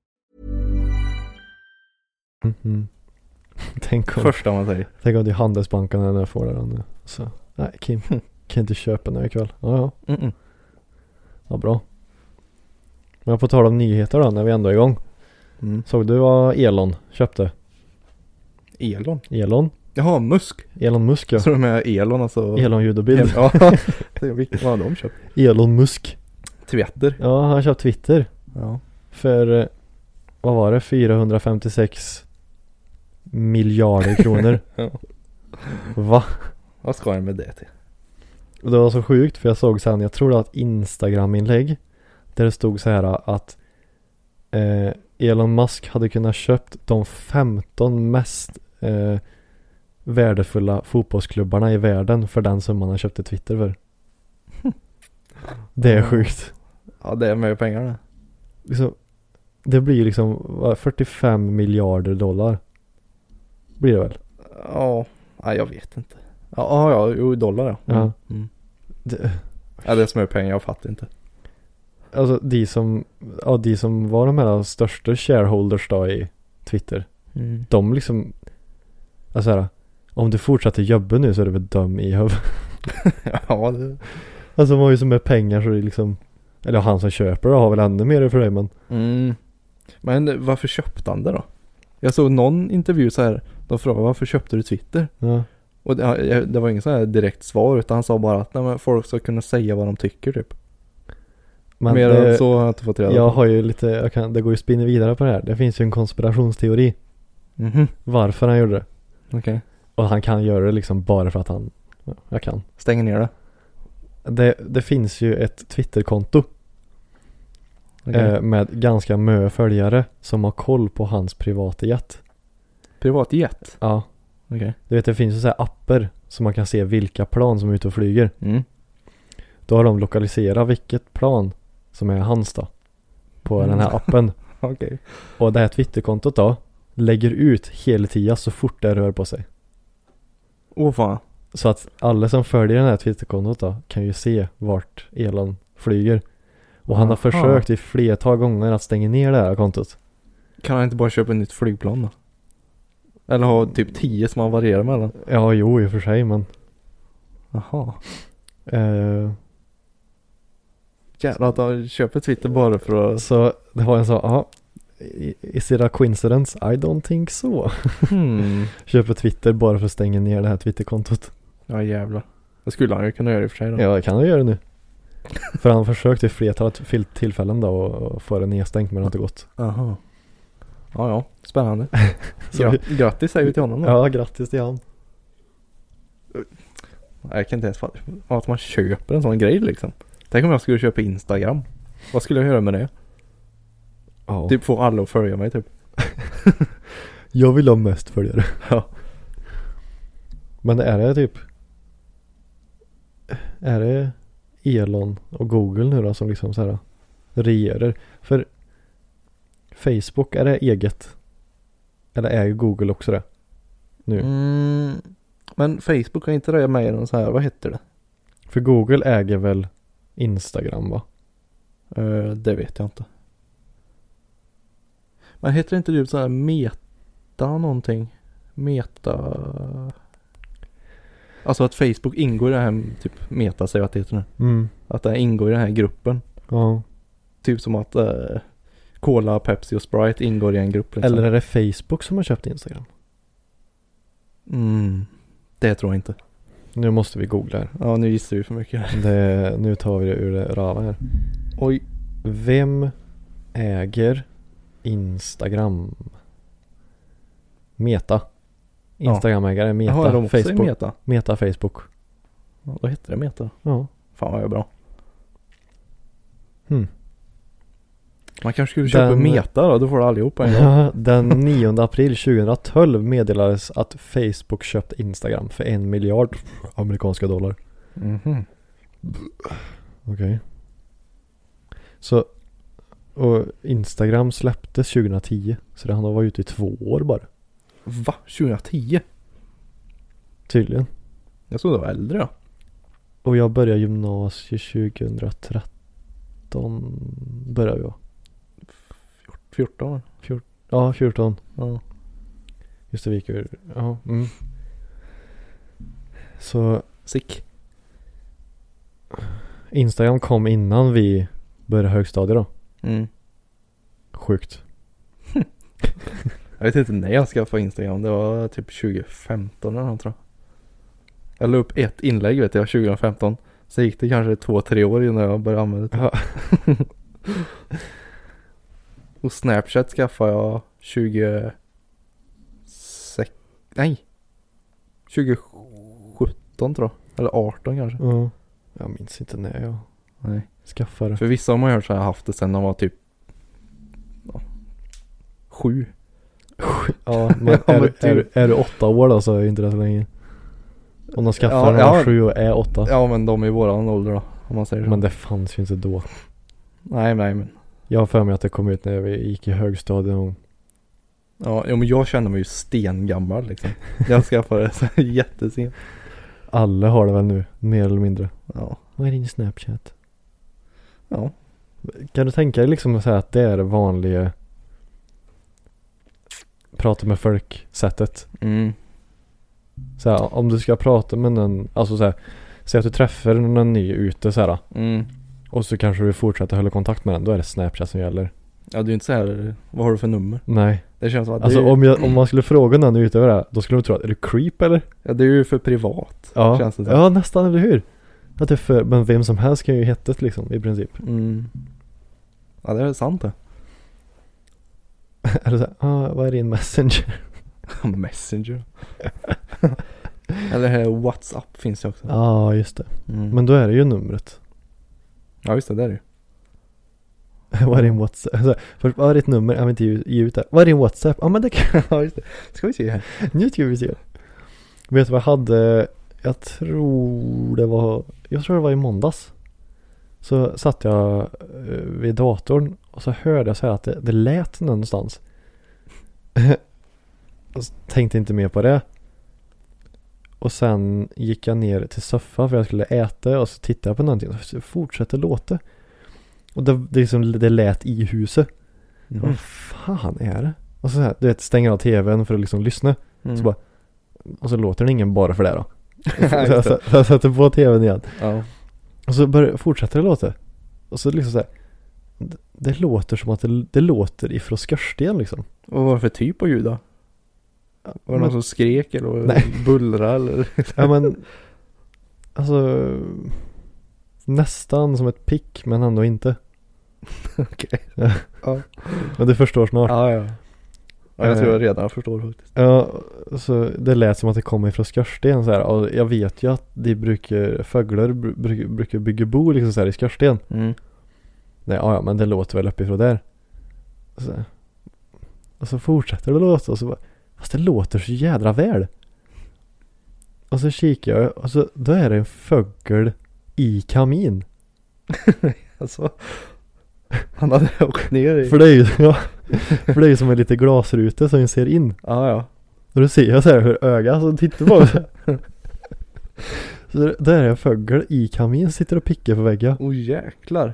Mhm. Tänk om, Första man säger. tänk om det är Handelsbanken när jag får det här nu. Så, nej Kim, kan inte köpa nu ikväll. Ja, ja, Mm-mm. ja bra. Men på tal om nyheter då när vi ändå är igång. Mm. Såg du vad Elon köpte? Elon. Elon? Jaha, Musk. Elon Musk ja. Så de är Elon alltså. Elon ljud och bild. Ja. Så Vilken vad har de köpt? Elon Musk. Twitter. Ja, han köpte Twitter. Ja. För, eh, vad var det, 456 miljarder kronor. Ja. Va? Vad ska jag med det till? Och Det var så sjukt för jag såg sen, jag tror det var ett Instagram-inlägg där det stod så här att eh, Elon Musk hade kunnat köpt de 15 mest eh, värdefulla fotbollsklubbarna i världen för den summan han köpte Twitter för. Det är sjukt. Ja, det är med pengar det. Liksom, det blir ju liksom vad, 45 miljarder dollar. Blir det väl? Ja, nej, jag vet inte. Ja, ja, ja jo, dollar ja. Ja. Mm. Det, Ja, det är som är pengar, jag fattar inte. alltså de som, ja, de som var de här största shareholders då i Twitter. de liksom, alltså här, om du fortsätter jobba nu så är du väl dum i huvudet. Ja, det... Alltså de har ju så med pengar så det är liksom, eller han som köper det har väl ännu mer för dig men. Mm. Men varför köpte han det då? Jag såg någon intervju så här. De frågade varför köpte du Twitter? Ja. Och det, ja, det var ingen så här direkt svar utan han sa bara att nej, men folk ska kunna säga vad de tycker typ. Men Mer det, än så har jag inte fått reda jag på. har ju lite, jag kan, det går ju att spinna vidare på det här. Det finns ju en konspirationsteori Mhm. varför han gjorde det. Okej. Och han kan göra det liksom bara för att han, ja, jag kan. Stänger ner det. Det, det finns ju ett Twitterkonto Okej. eh, med ganska mö följare som har koll på hans privatjet. Privatjet. Ja. Okej. Du vet det finns ju så här appar som man kan se vilka plan som är ute och flyger. Mm. Då har de lokaliserat vilket plan som är hans då. På den här appen. Okej. Och det här Twitterkontot då. Lägger ut hela tiden så fort det rör på sig. Åh fan. Så att alla som följer den här Twitterkontot då kan ju se vart Elon flyger. Och han har Aha. försökt i flertal gånger att stänga ner det här kontot. Kan han inte bara köpa ett Mm. nytt flygplan då? Eller ha typ 10 som han varierar mellan? Ja, jo i och för sig men Jaha. Eh, Jävlar att han köper Twitter bara för att... så det var en så, ja, i- is it a coincidence? I don't think so. Hmm. Köper Twitter bara för att stänga ner det här Twitterkontot. Ja jävlar. Det skulle han ju kunna göra i och för sig då. Ja, det kan jag göra nu. För han försökte i flertalet fil- tillfällen då att få det nedstängt men det har inte gått. Aha. Ja, ja. Spännande. Så Gra- grattis säger vi till honom då. Ja, grattis till han. Nej, Jag kan inte ens fatta att man köper en sån grej liksom. Tänk om jag skulle köpa Instagram. Vad skulle jag göra med det? Ja. Typ få alla att följa mig typ. Jag vill ha mest följare. Ja. Men är det typ Är det Elon och Google nu då som liksom så här regerar? För Facebook, är det eget? Eller äger Google också det? Nu. Mm. Men Facebook är inte det med i någon så här, vad heter det? För Google äger väl Instagram va? Eh, det vet jag inte. Men heter det inte typ så här meta någonting? Meta... Alltså att Facebook ingår i den här typ meta säger jag att det heter nu. Mm. Att det ingår i den här gruppen. Ja. Typ som att eh, Cola, Pepsi och Sprite ingår i en grupp. Liksom. Eller är det Facebook som har köpt Instagram? Mm, det tror jag inte. Nu måste vi googla här. Ja, nu gissar vi för mycket här. Det, nu tar vi det ur det rava här. Oj. Vem äger Instagram? Meta. Ja. Instagram-ägare, Meta, Jaha, är de också i Facebook. Meta. Meta? Facebook. Ja, då heter det Meta. Ja. Fan vad jag är bra. Hmm. Man kanske skulle köpa Den- Meta då, då får du allihopa en gång. Den 9 april 2012 meddelades att Facebook köpt Instagram för en miljard amerikanska dollar. Mhm. Okej. Så, och Instagram släpptes 2010. Så det han har varit ute i två år bara. Va? 2010? Tydligen. Jag trodde det var äldre ja. Och jag började gymnasiet 2013. Började jag. 14 år. Ja, 14. Ja. Just det, vi gick ur. Ja. Mm. Så Sick. Instagram kom innan vi började högstadiet då. Mm. Sjukt. Jag vet inte när jag skaffade Instagram. Det var typ 2015 eller något tror jag. Jag la upp ett inlägg vet jag 2015. Så gick det kanske två, tre år innan jag började använda det. Ja. Och Snapchat skaffade jag 26... Nej! 2017 tror jag. Eller 18 kanske. ja. Jag minns inte när jag Nej. skaffade. För vissa har man ju hört så här haft det sen de var typ... Ja, sju. Ja, men Ja, men är, du- är, typ. du- är du åtta år då så är ju inte det så länge. Om de skaffar Ja, när de ja. är sju och är åtta. Ja men de är i våran ålder då. Om man säger så. Men det fanns ju inte då. Nej nej men. Jag har för mig att det kom ut när vi gick i högstadiet någon Ja, ja men jag känner mig ju stengammal liksom. Jag skaffade det så här jättesent. Alla har det väl nu, mer eller mindre. Ja. Vad är din Snapchat? Ja. Kan du tänka dig liksom så här att det är det vanliga prata med folk sättet? Mm. Så här, om du ska prata med någon, alltså så här, säg att du träffar någon ny ute så här Mm. och så kanske du fortsätter hålla kontakt med den, då är det Snapchat som gäller. Ja du är inte så här, vad har du för nummer? Nej, Det känns som att alltså det, är, om, jag, om man skulle fråga någon utöver det, här, då skulle de tro att är du creep eller? ja, det är ju för privat. Ja, Känns det som. ja nästan, eller hur? Att det är för, men vem som helst kan ju heta det liksom i princip. Mm. Ja det är sant det. Eller så här, ah, vad är din messenger? Messenger. Eller här, WhatsApp finns ju också. Ja, just det. Mm. Men då är det ju numret. ja just det, det är det ju. Vad är din WhatsApp? Alltså, först, vad är ditt nummer? Jag vill inte ge, ge ut det. Vad är din WhatsApp? Ja men det kan Ja just det. Ska vi se här. Nu ska vi se. Vet du vad jag hade? Jag tror det var, jag tror det var i måndags. Så satt jag eh, vid datorn och så hörde jag så här att det, det lät någonstans. och så tänkte inte mer på det. Och sen gick jag ner till soffan för jag skulle äta och så tittade jag på någonting och så fortsatte låta. Och det, det, liksom, det lät i huset. Mm. Vad fan är det? Och så, så här, du vet, stänger av tvn för att liksom lyssna. Mm. Så bara, och så låter den ingen bara för det då. Så jag, så jag satte på tvn igen. Ja. Och så börjar, fortsätter det låta. Och så liksom så här, det, det låter som att det, det låter ifrån skorsten liksom. Vad var det för typ av ljud då? Var det någon som skrek eller Nej. bullrade eller? Ja men, alltså nästan som ett pick men ändå inte. Okej. Ja. Ja. Men du förstår snart. Ja, Eh. ja. ja jag tror jag redan förstår faktiskt. Ja, så det lät som att det kom ifrån skorsten så här. Och jag vet ju att de brukar, fåglar bru- brukar, brukar bygga bo liksom så här i skorsten. Mm. Nej, ja, ja, men det låter väl uppifrån där. Och så, och så fortsätter det låta och så bara, fast det låter så jädra väl. Och så kikar jag och så, då är det en fågel i kamin. Alltså. Han hade åkt ner i... För det är ju, ja, för det är ju som en liten glasruta som vi ser in. Ja, ja. Och då ser jag så här hur ögat som tittar på mig. så här. Så där är en fågel i kamin sitter och pickar på väggen. Oh jäklar.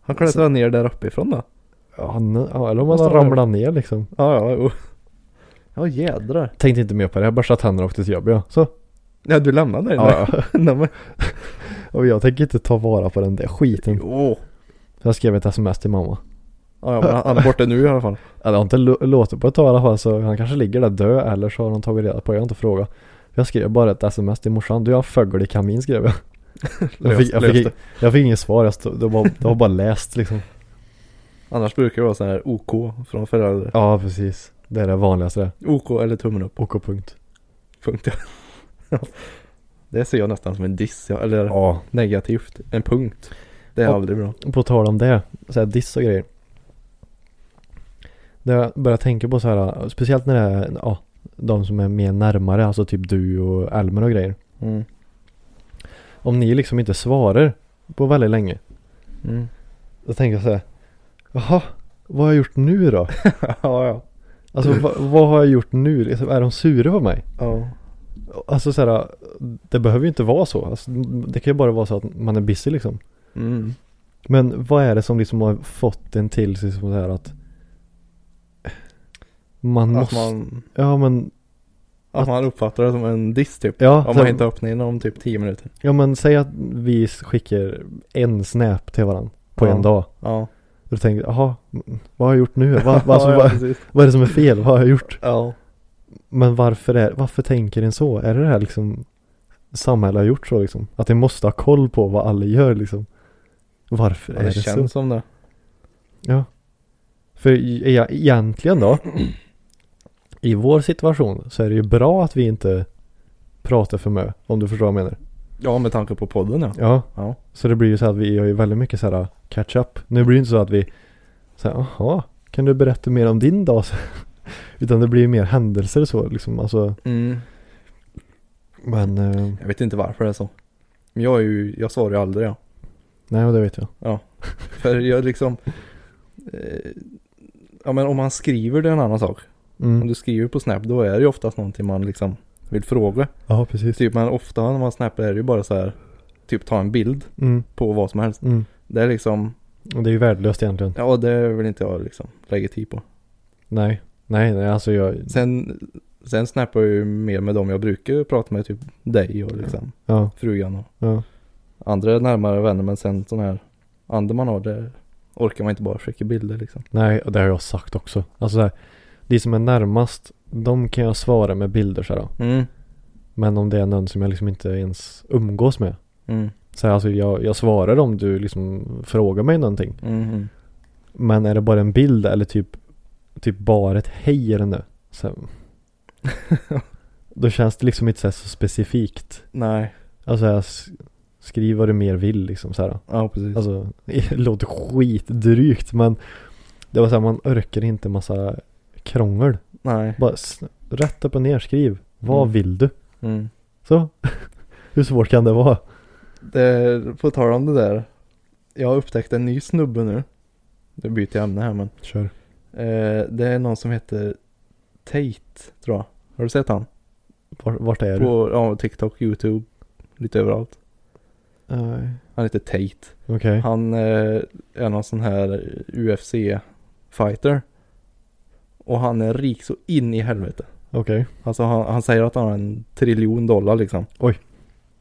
Han klättrade ner där uppifrån då? Ja, han- ja, eller om han har ramlat ner liksom. Ja, ja, jo. Ja, jädrar. Tänkte inte mer på det, jag borstade tänderna och åkte till jobbet ja. Så. Ja, du lämnade den Ja, där. Nej, men. Och jag tänker inte ta vara på den där skiten. Jo. Så jag skrev ett sms till mamma. Ja, ja, men han- han är borta nu i alla fall. Eller har inte lo- låtit på ett tag i alla fall så han kanske ligger där död eller så har de tagit reda på det. Jag har inte frågat. Jag skrev bara ett sms till morsan. Du jag har en fågel i kamin skrev jag. Jag fick, jag Löst- fick, löst jag fick inget svar. Jag stod, det, var, det var bara läst liksom. Annars brukar det vara så här OK från föräldrar. Ja precis. Det är det vanligaste. OK eller tummen upp. OK punkt. Punkt. Ja. det ser jag nästan som en diss. ja, Eller Ja. negativt. En punkt. Det är Ja. aldrig bra. På tal om det. Så här diss och grejer. Det jag börjar tänka på så här. Speciellt när det är ja, de som är mer närmare. Alltså typ du och Elmer och grejer. Mm. Om ni liksom inte svarar på väldigt länge. Mm. Då tänker jag så här. Jaha, vad har jag gjort nu då? ja, ja. Alltså va, vad har jag gjort nu? Liksom, är de sura på mig? Ja. Alltså så här, det behöver ju inte vara så. Alltså, det kan ju bara vara så att man är busy liksom. Mm. Men vad är det som liksom har fått en till sig som så här att man Att måste, man, ja men, att man uppfattar det som en diss typ. Ja, om så- man inte öppnar in om typ 10 minuter. ja men säg att vi skickar en snap till varandra på Ja. en dag. Ja. Och då tänker jag, jaha, vad har jag gjort nu? Va, va, alltså, ja, vad, precis. vad är det som är fel? Vad har jag gjort? Ja. Men varför, är, varför tänker en så? Är det det här liksom samhället har gjort så liksom? Att det måste ha koll på vad alla gör liksom? Varför Ja, är det det känns så? som det. Ja. För e- ja, egentligen då, i vår situation så är det ju bra att vi inte pratar för mycket, om du förstår vad jag menar. Ja, med tanke på podden ja. Ja, Ja. så det blir ju så att vi gör ju väldigt mycket så här uh, catch up. Nu blir det inte så att vi säger, jaha, kan du berätta mer om din dag? Utan det blir ju mer händelser så liksom, alltså, Mm. men eh, Jag vet inte varför det är så. Men jag är ju, jag svarar ju aldrig ja. nej, och det vet jag. För jag liksom, eh, ja men om man skriver det är en annan sak. Mm. Om du skriver på Snap då är det ju oftast någonting man liksom vill fråga. Ja, precis. Typ men ofta när man snappar är det ju bara så här, typ ta en bild Mm, på vad som helst. mm. Det är liksom, Och det är ju värdelöst egentligen. ja det vill inte jag liksom lägga tid på. Nej, nej, nej, alltså jag, Sen, sen snappar jag ju mer med dem jag brukar prata med, typ dig och liksom ja, frugan och ja. andra närmare vänner men sen sån här andra man har det orkar man inte bara skicka bilder liksom. Nej, och det har jag sagt också. Alltså så här, de som är närmast, de kan jag svara med bilder så här då. Mm. Men om det är någon som jag liksom inte ens umgås med. Mm. Så här, alltså jag, jag svarar om du liksom frågar mig någonting. Mm. mm. Men är det bara en bild eller typ, typ bara ett hej eller nu. Så här, då känns det liksom inte så, här så specifikt. Nej, Alltså jag s- skriv vad du mer vill liksom så här. Då. ja precis. Alltså, det låter skitdrygt men det var så här, man orkar inte massa krångel. Nej. Bara s- rätt upp och ner, skriv. Vad Mm. vill du? Mm. Så. Hur svårt kan det vara? Det, på tal om det där. Jag har upptäckt en ny snubbe nu. Nu byter jag ämne här men. Kör. Eh, det är någon som heter Tate tror jag. Har du sett han? Vart, vart är du? På ja, TikTok, YouTube, lite överallt. Nej. Han heter Tate. Okej. Han eh, är någon sån här UFC fighter. Och han är rik så in i helvete. Okej. Alltså han, han säger att han har en triljon dollar liksom. Oj.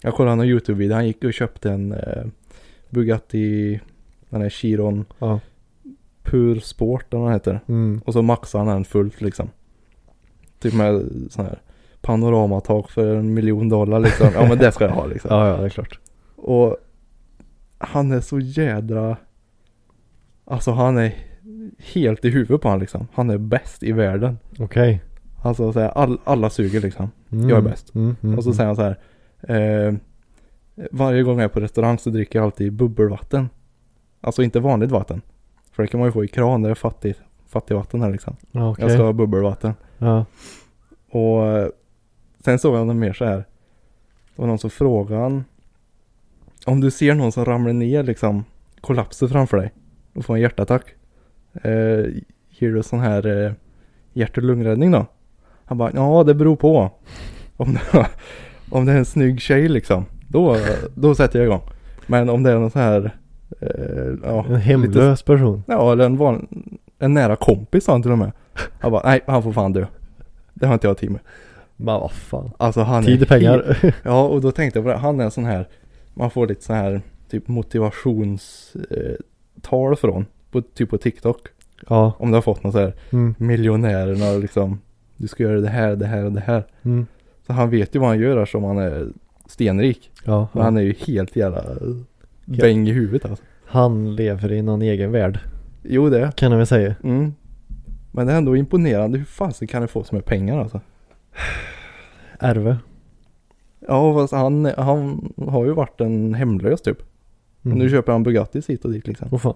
Jag kollade någon YouTube-video. Han gick och köpte en eh, Bugatti, den här Chiron Ja. Pur Sport eller vad den heter. Mm. Och så maxade han den fullt liksom. Typ med sån här panoramatak för en miljon dollar liksom. Ja men det ska jag ha liksom. Ja, ja, det är klart. Och han är så jädra... Alltså han är helt i huvudet på han liksom. Han är bäst i världen. Okej. Alltså så här, all, alla suger liksom. Mm. Jag är bäst. Mm, mm, Och så mm. säger han så här. Eh, varje gång jag är på restaurang så dricker jag alltid bubbelvatten. Alltså inte vanligt vatten. För det kan man ju få i kran, det är fattigt, fattigvatten här liksom. Ja, Okej. Jag ska ha bubbelvatten. Ja. Och eh, sen såg jag honom mer så här. Det var någon som frågade han. Om du ser någon som ramlar ner liksom. Kollapsar framför dig. Och får en hjärtattack. Eh, ger du sån här eh, hjärt och lungräddning då? Han bara ja det beror på. Om det, om det är en snygg tjej liksom. Då, då sätter jag igång. Men om det är någon sån här. Eh, ja, En hemlös person. Ja, eller en, van, en nära kompis sa han till och med. Han bara, nej han får fan dö. Det har inte jag tid med. Bara vad fan. Alltså han Tid är och pengar. helt- ja, och då tänkte jag på det. Han är en sån här, man får lite sån här typ motivationstal eh, tal från. På, typ på TikTok. Ja. Om du har fått någon så här, Mm. miljonärerna och liksom. Du ska göra det här, det här och det här. Mm. Så han vet ju vad han gör som han är stenrik. Ja. Han, Men han är ju helt jävla eh, bäng i huvudet alltså. han lever i någon egen värld. Jo det. Kan jag väl säga. Mm. Men det är ändå imponerande. Hur fasen kan det få så mycket pengar alltså? Ärve. Ja fast han, han har ju varit en hemlös typ. Mm. Nu köper han Bugattis hit och dit liksom. Åh fan.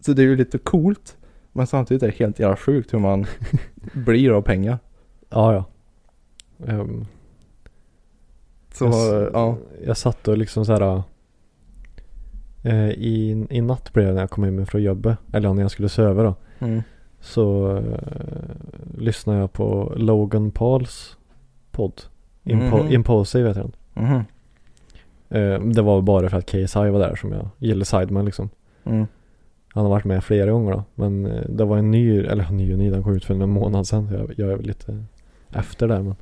Så det är ju lite coolt. Men samtidigt är det helt jävla sjukt hur man blir av pengar. Ja, ja. Ehm, Så jag, s- ja. jag satt och liksom så här. eh, I, I natt blev det när jag kom hem från jobbet. Eller när jag skulle sova då. Mm. Så eh, lyssnade jag på Logan Pauls podd. Impo- Mhm. Impulsive heter den. Mhm. Eh, det var bara för att KSI var där som jag gillade Sideman liksom. Mm. Han har varit med flera gånger då. Men eh, det var en ny, eller ny och ny, den kom ut för en månad sedan. Så jag, jag är väl lite efter där men.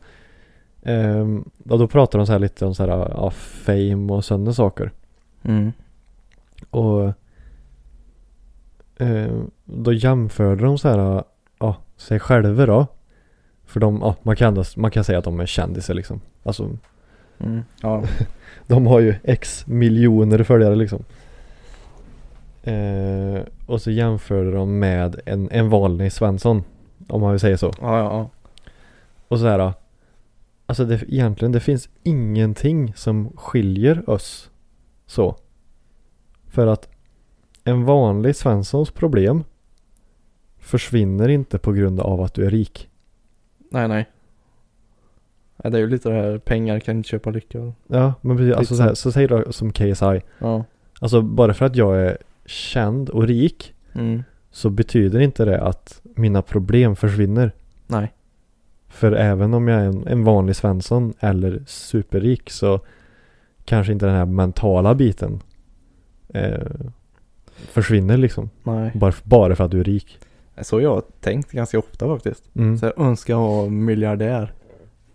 Ehm, och då pratade de så här lite om så här, ja, fame och sådana saker. Mm. Och eh, då jämförde de så här, eh, ja, sig själva då. För de, ja, man kan, ändå- man kan säga att de är kändisar liksom. Alltså Mm. Ja. de har ju x miljoner följare liksom. Eh, och så jämförde de med en, en vanlig Svensson. Om man vill säga så. ja, ja, ja. Och så här. Alltså det, egentligen det finns ingenting som skiljer oss så. För att en vanlig Svenssons problem försvinner inte på grund av att du är rik. Nej, nej. Ja, det är ju lite det här, pengar kan inte köpa lycka. Ja, men precis. Alltså så, Lite här, så säger du som KSI. Ja. Alltså bara för att jag är känd och rik Mm. så betyder inte det att mina problem försvinner. Nej. För även om jag är en, en vanlig svensson eller superrik så kanske inte den här mentala biten eh, försvinner liksom. Nej. Bara, bara för att du är rik. Så jag har tänkt ganska ofta faktiskt. Mm. Så jag önskar vara miljardär.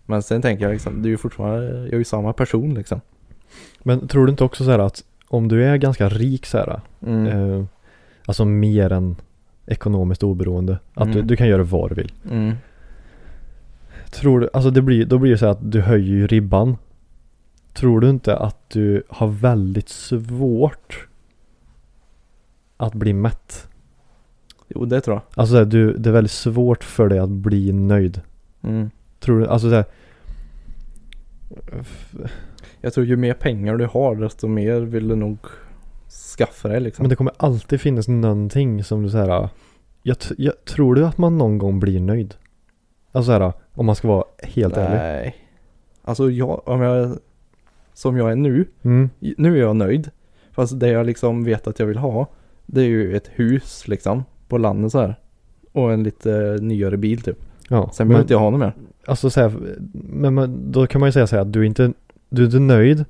Men sen tänker jag liksom, det är ju fortfarande, jag är ju samma person liksom. Men tror du inte också så här att om du är ganska rik så här, Mm. eh, alltså mer än ekonomiskt oberoende, att du, Mm. du kan göra vad du vill. Mm. Tror du, alltså det blir, då blir det så här att du höjer ju ribban. Tror du inte att du har väldigt svårt att bli mätt? Jo, det tror Alltså så här, du, det är väldigt svårt för dig att bli nöjd. jag. Mm. Tror du, alltså så här, Jag tror ju mer pengar du har desto mer vill du nog skaffa dig liksom. men det kommer alltid finnas någonting som du så här. Jag, t- jag, tror du att man någon gång blir nöjd? Alltså så här, om man ska vara helt ärlig. Nej. Alltså jag, om jag, som jag är nu, Mm, nu är jag nöjd. Fast det jag liksom vet att jag vill ha, det är ju ett hus liksom på landet så här. Och en lite nyare bil typ. ja. Sen behöver Men- inte jag ha något mer. Alltså så här, men man, då kan man ju säga så här att du är inte, du är inte nöjd.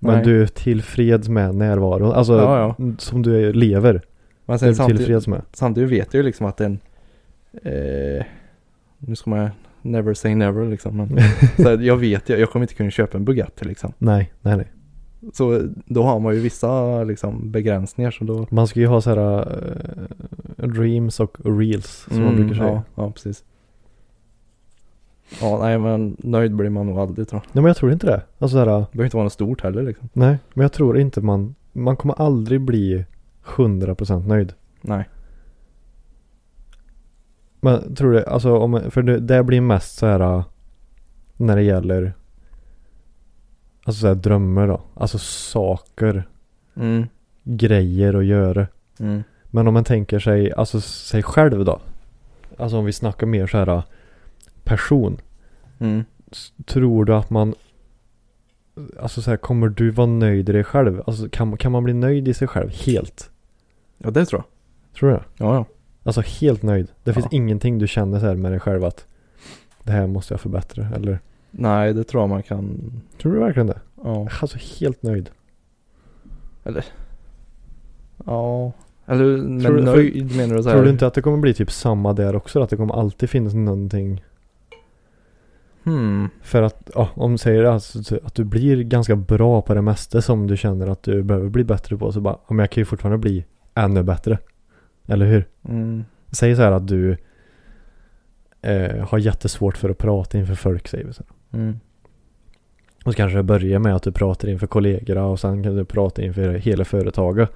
Men Nej. du är tillfreds med närvaron. Alltså Ja, som du lever. Men Du är sen du samtidigt, tillfreds med. samtidigt vet jag ju liksom att en, eh, nu ska man, never say never liksom. Men, så här, jag vet, jag, jag kommer inte kunna köpa en Bugatti liksom. Nej, nej, nej. Så då har man ju vissa liksom begränsningar så då. Man ska ju ha så här eh, dreams och reels som man brukar säga. Mm, ja, ja, precis. Ja, nej men nöjd blir man nog aldrig tror jag. Nej men jag tror inte det. Alltså så här, Det behöver inte vara något stort heller liksom. nej, men jag tror inte man, man kommer aldrig bli 100% nöjd. Nej. Men tror du, alltså om, för det, det blir mest så här när det gäller Alltså såhär drömmar då. Alltså saker, Mm. grejer att göra. Mm. Men om man tänker sig, alltså sig själv då. Alltså om vi snackar mer så här person. Mm. S- Tror du att man Alltså så här, kommer du vara nöjd i dig själv? Alltså kan, kan man bli nöjd i sig själv helt? Ja, det tror jag. Tror du det? Ja, ja. Alltså helt nöjd. Det finns Ja. ingenting du känner så här med dig själv att det här måste jag förbättra eller? Nej, det tror jag man kan. Tror du verkligen det? Ja. Alltså helt nöjd. Ja. Eller men Tror du- nöjd menar du så här? Tror du inte att det kommer bli typ samma där också? Att det kommer alltid finnas någonting? Hmm. För att, ja, om du säger alltså, att du blir ganska bra på det mesta som du känner att du behöver bli bättre på. Så bara, ja, men jag kan ju fortfarande bli ännu bättre. Eller hur? Mm. Säg så här att du eh, har jättesvårt för att prata inför folk säger vi så. här. Mm. Och så kanske det börjar med att du pratar inför kollegorna och sen kan du prata inför hela företaget.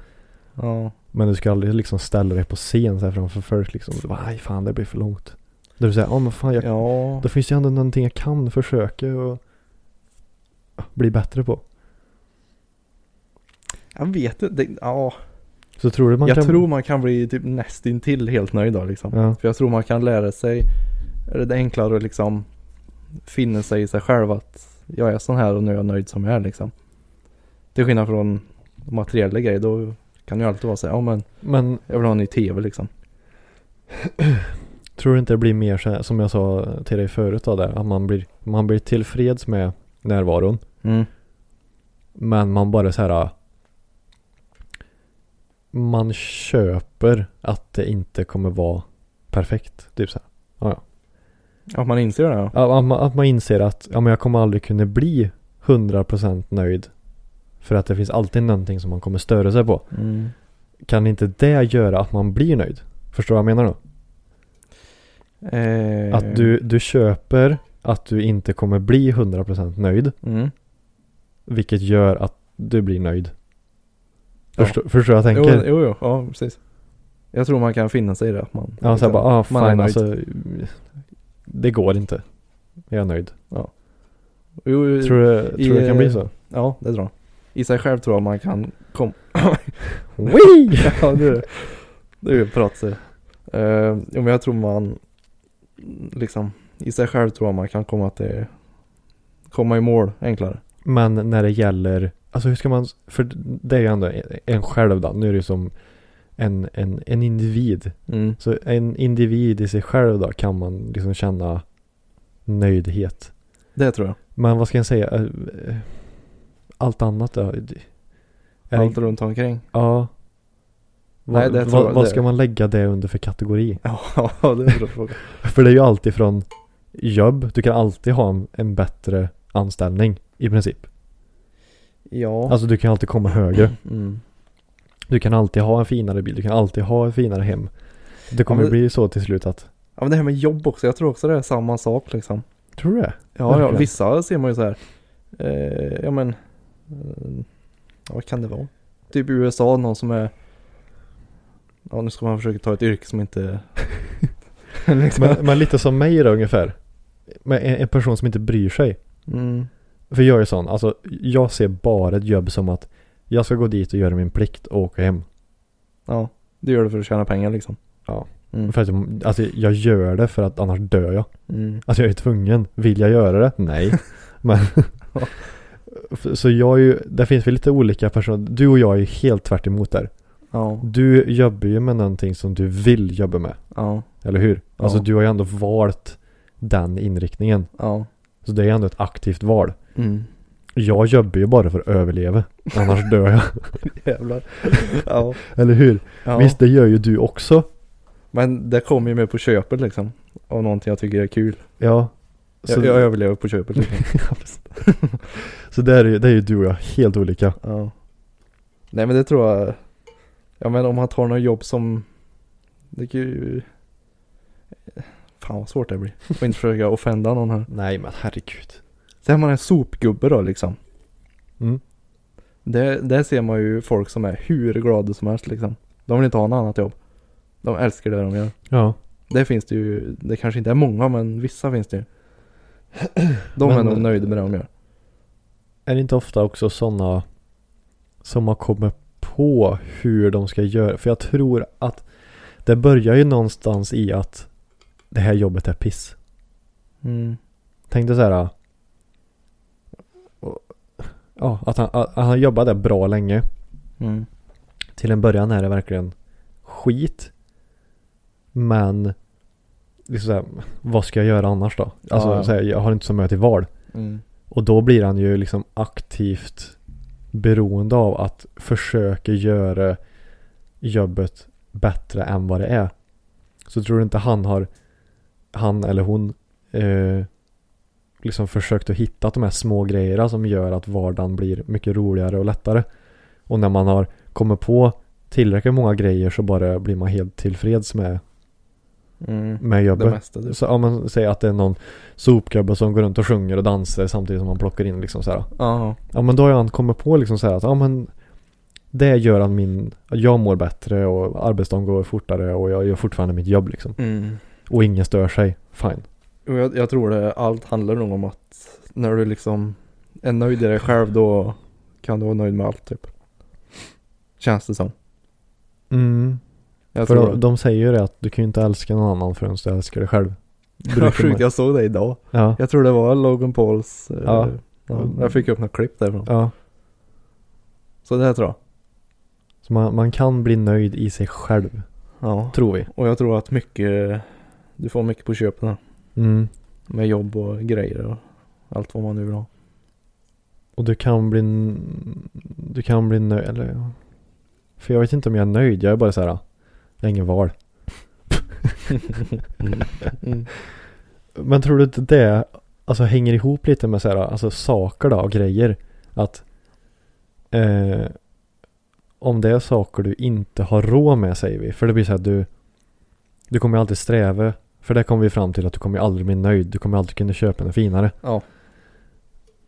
Ja. Men du ska aldrig liksom ställa dig på scen så här framför folk liksom. Du bara, aj fan det blir för långt. Där du säger, ja men fan jag, Ja. då finns det ju ändå någonting jag kan försöka och ja, bli bättre på. Jag vet inte. det- Ja. Så tror du man Jag kan... tror man kan bli typ nästintill helt nöjd då liksom. Ja. För jag tror man kan lära sig. Eller det är enklare att liksom finna sig i sig själv att jag är sån här och nu är jag nöjd som jag är liksom. Till skillnad från materiella grejer. Då kan det ju alltid vara så här. Ja men Men jag vill ha en ny tv liksom. tror du inte det blir mer så här, som jag sa till dig förut då, där, att man blir, man blir tillfreds med närvaron. Mm. Men man bara så här. äh, Man köper att det inte kommer vara perfekt. Typ så här. Att man inser det ja. Ja, Att man, att man inser att ja, men jag kommer aldrig kunna bli 100% nöjd. För att det finns alltid någonting som man kommer störa sig på. Mm. Kan inte det göra att man blir nöjd? Förstår du vad jag menar då? Eh, Att du, du köper att du inte kommer bli 100% nöjd. Mm. Vilket gör att du blir nöjd. Ja. Förstår, förstår jag Jo, tänker? jo, jo, ja precis. Jag tror man kan finna sig i det. Att man, liksom ja, så här bara, ah, man är fan nöjd. alltså. Det går inte. Jag är nöjd. Jo, Tror du, jo, tror i- eh, du det kan bli så? Ja, det tror jag. I sig själv tror jag man kan komma... Wee! ja, nu, nu pratar jag. Eh, jo, men jag tror man liksom i sig själv tror jag man kan komma till komma i mål enklare. Men när det gäller, alltså hur ska man, för det är ju ändå en själv då. Nu är det ju som en, en, en individ. Mm. Så en individ i sig själv då kan man liksom känna nöjdhet. Det tror jag. Men vad ska jag säga? Eh, eh, Allt annat då? Det- Är Allt det, runt omkring. ja. Nej, vad, det tror vad, jag- vad det- ska man lägga det under för kategori? Ja, det är en bra fråga. För det är ju alltid från jobb. Du kan alltid ha en, en bättre anställning i princip. Ja. Alltså du kan alltid komma högre. mm. Du kan alltid ha en finare bil. Du kan alltid ha ett finare hem. Det kommer men- bli så till slut att. ja, men det här med jobb också. Jag tror också det är samma sak liksom. Tror du det? Ja, ja Verkligen. vissa ser man ju så här. Eh, ja men. Eh, ja, vad kan det vara? Typ i USA någon som är. Ja nu ska man försöka ta ett yrke som inte. liksom. Men, men lite som mig då ungefär. Men en, en person som inte bryr sig. mm, För jag är sån, alltså jag ser bara ett jobb som att jag ska gå dit och göra min plikt och åka hem. ja, du gör det för att tjäna pengar liksom. Ja. Mm. För att, jag- alltså jag gör det för att annars dör jag. Mm. Alltså jag är tvungen. Vill jag göra det? Nej. Men F- Så jag är ju, det finns väl lite olika personer. Du och jag är ju helt tvärt emot där. Ja, Du jobbar ju med någonting som du vill jobba med. ja, Eller hur? Alltså Ja. du har ju ändå valt den inriktningen. ja. Så det är ändå ett aktivt val. Mm. Jag jobbar ju bara för att överleva. Annars dör jag. Jävlar. ja, Eller hur? ja. Visst, det gör ju du också. Men det kommer ju med på köpet liksom. Av någonting jag tycker är kul. Ja, Jag, jag överlever på köpet liksom. Ja, precis. så där är, ju- där är ju du och jag helt olika. Ja. Nej men det tror jag. Ja men om han tar något jobb som. Det kan ju. Fan vad svårt det blir. Får inte försöka offenda någon här. Nej men herregud. Sen har man en sopgubbe då liksom. Mm. Det, där ser man ju folk som är hur glada som helst liksom. De vill inte ha något annat jobb. De älskar det de gör. Ja. Det finns det ju. Det kanske inte är många men vissa finns det ju. De är Men- nog nöjda med det de gör. Är det inte ofta också sådana som har kommit på hur de ska göra? För jag tror att det börjar ju någonstans i att det här jobbet är piss. Mm. Tänk dig så här. Ja, att han, att han jobbade bra länge. Mm. Till en början är det verkligen skit. Men liksom så här, vad ska jag göra annars då? Alltså Ja, ja. Så här, jag har inte så mycket till val. Mm. Och då blir han ju liksom aktivt beroende av att försöka göra jobbet bättre än vad det är. Så tror du inte han har, han eller hon, eh, liksom försökt att hitta de här små grejerna som gör att vardagen blir mycket roligare och lättare. Och när man har kommit på tillräckligt många grejer så bara blir man helt tillfreds med, Mm. med Det jobbet. mesta du. Så om man säger att det är någon sopgubbe som går runt och sjunger och dansar samtidigt som man plockar in liksom så här. Ja. Ja men då har han kommit på liksom så här att ja men det gör att min, att jag mår bättre och arbetsdagen går fortare och jag gör fortfarande mitt jobb liksom. Mm. Och ingen stör sig. Fine. Och jag, jag tror det, allt handlar nog om att när du liksom är nöjd i dig själv då kan du vara nöjd med allt typ. Känns det som. Mm. Jag För tror de, de säger ju det att du kan ju inte älska någon annan förrän du älskar dig själv. det. brukar Vad sjukt, man- jag såg det idag. Ja. Jag tror det var Logan Pauls. eh, Ja. ja, Jag fick upp något klipp därifrån. ja. Så det här tror jag. Så man, man kan bli nöjd i sig själv. Ja. Tror vi. Och jag tror att mycket, du får mycket på köpen här. Mm. Med jobb och grejer och allt vad man nu vill ha. Och du kan bli, n- du kan bli nöjd, eller ja. För jag vet inte om jag är nöjd, jag är bara så här. Jag har ingen val. Men tror du inte det alltså, hänger ihop lite med så här, alltså, saker då, och grejer? Att eh, om det är saker du inte har råd med säger vi. För det blir så här du, du kommer ju alltid sträva. För det kommer vi fram till att du kommer ju aldrig bli nöjd. Du kommer alltid kunna köpa en finare. Ja.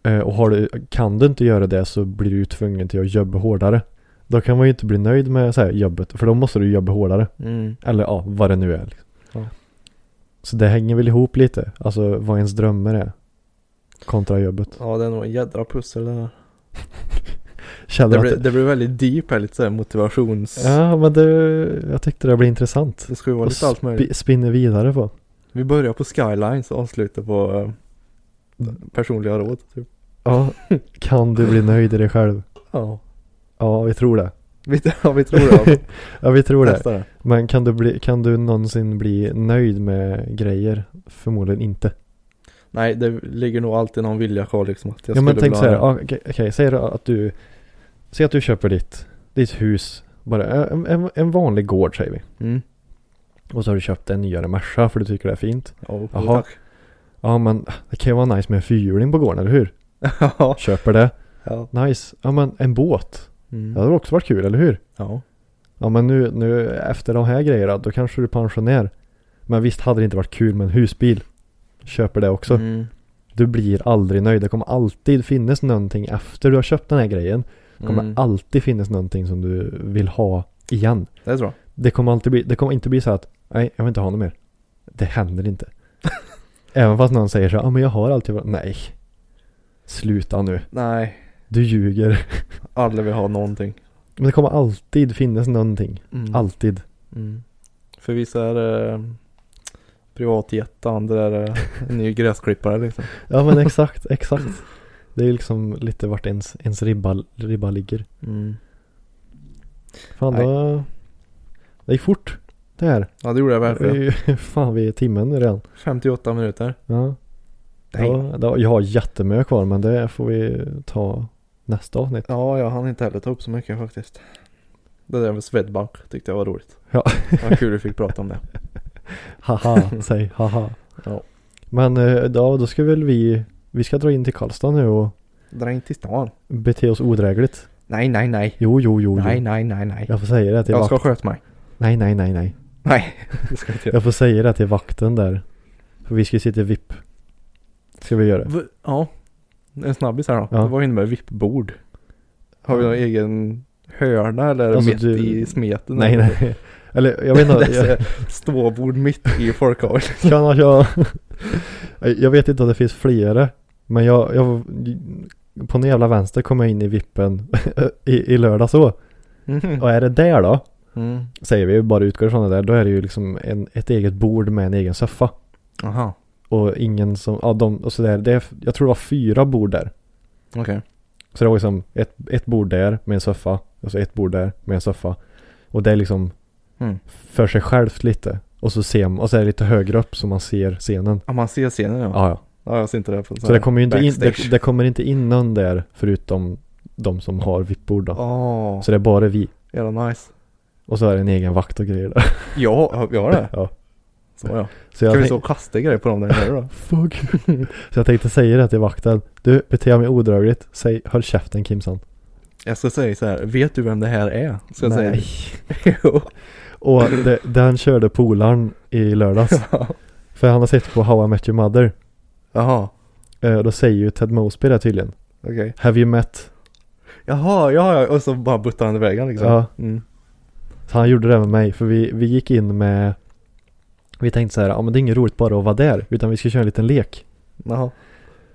Eh, och har du, kan du inte göra det så blir du ju tvungen till att jobba hårdare. Då kan man ju inte bli nöjd med så här, jobbet. För då måste du jobba hårdare. Mm. Eller ja, vad det nu är. Liksom. Ja. Så det hänger väl ihop lite. Alltså vad ens drömmar är. Kontra jobbet. Ja det är nog en jädra pussel det här. Känner Det att blir, det blir väldigt deep här, lite såhär motivations... Ja, men det, jag tyckte det blev intressant. Det ska ju vara lite allt möjligt. spi, spinner vidare på. Vi börjar på Skylines och avslutar på eh, personliga råd. Typ. Ja, kan du bli nöjd i dig själv? Ja. Ja, vi tror det. Vi, ja, vi tror det. Ja, vi tror det. Nästa det. Men kan du, bli, kan du någonsin bli nöjd med grejer? Förmodligen inte. Nej, det ligger nog alltid någon vilja kvar liksom. Att jag ja, men skulle tänk vilja så här. ha ja, Okej, okej, säg då att du, säg att du köper ditt, ditt hus. Bara en, en, en vanlig gård säger vi. det. Mm. Och så har du köpt en nyare Merca för du tycker det är fint. Ja, och- Jaha. tack. Ja men det kan ju vara nice med en fyrhjuling på gården, eller hur? ja. Köper det. Ja. Nice. Ja men en båt. Det Mm. hade också varit kul, eller hur? ja. Ja men nu, nu efter de här grejerna, då kanske du är pensionär. Men visst hade det inte varit kul med en husbil? Köper det också. Mm. Du blir aldrig nöjd. Det kommer alltid finnas någonting efter du har köpt den här grejen. Det kommer Mm. alltid finnas någonting som du vill ha igen. Det tror jag. Det kommer alltid bli, det kommer inte bli så att nej, jag vill inte ha något mer. Det händer inte. Även fast någon säger så, ja ah, men jag har alltid varit, nej. Sluta nu, Nej, du ljuger. aldrig vill ha någonting. Men det kommer alltid finnas någonting. Mm. Alltid. Mm. För vissa är det eh, privatjet, andra är det en ny gräsklippare liksom. Ja men exakt, exakt. Det är liksom lite vart ens, ens ribba, ribba ligger. Mm. Fan då, det gick fort det här. Ja, det gjorde jag verkligen. Fan vi är i timmen nu redan. 58 minuter. Ja. Ja, då- jag har jättemycket kvar men det får vi ta nästa avsnitt. Ja, jag hann inte heller ta upp så mycket faktiskt. Det där med Swedbank tyckte jag var roligt. Ja. Vad kul vi fick prata om det. Haha, säg haha. Ja. Men eh, ja, då ska väl vi, vi ska dra in till Karlstad nu och Dra in till stan. bete oss odrägligt. Nej, nej, nej. Jo, jo, jo. Nej, jo. nej, nej, nej. Jag får säga det till Jag ska vakt- sköta mig. Nej, nej, nej, nej. Nej, det ska jag inte göra. Jag får säga det till vakten där. För vi ska ju sitta i VIP. Ska vi göra. V- Ja. En snabbis här då. Ja. Vad innebär vippbord? Har vi någon egen hörna eller Alltså, mitt du- i smeten? Nej, nej. Eller jag vet inte. Det är jag, så här Ståbord mitt i folkhavet. kan ha- jag, jag vet inte om det finns flera. Men jag, jag på någon jävla vänster kom jag in i vippen i, i lördag så. Mm. Och är det där då? Mm. Säger vi bara utgår från det där. Då är det ju liksom en, ett eget bord med en egen soffa. Aha, Och ingen som, ja de, och sådär. Det, är- jag tror det var fyra bord där. okej. Så det var liksom ett, ett bord där med en soffa. Och så ett bord där med en soffa. Och det är liksom Mm. för sig självt lite. Och så, ser, man- och så är det lite högre upp så man ser scenen. Ja, man ser scenen ja. Ja, ja. Ja, jag ser inte det på Så det kommer ju inte in, det, backstage. det kommer inte in någon där förutom de som har VIP-bord då. Åh, Så det är bara vi. jävla nice. Och så är det en egen vakt och grejer där. Ja, vi har det. Ja. Så ja. Så jag Kan vi tänk- stå och kasta grejer på dem där nere då? Fuck. så jag tänkte säga det till vakten. Du, beter jag mig odrögligt? Säg, håll käften Kimsan. Jag ska säga så här, vet du vem det här är? Ska jag Nej. säga Jo. Och det, den körde polaren i lördags. För han har sett på How I Met Your Mother. Jaha, Eh, Då säger ju Ted Mosby det tydligen. okej. Have you met? Jaha, ja, ja, och så bara buttar han iväg han liksom. Ja. Mm. Så han gjorde det med mig för vi, vi gick in med Vi tänkte så här, ja men det är inget roligt bara att vara där utan vi ska köra en liten lek. Jaha.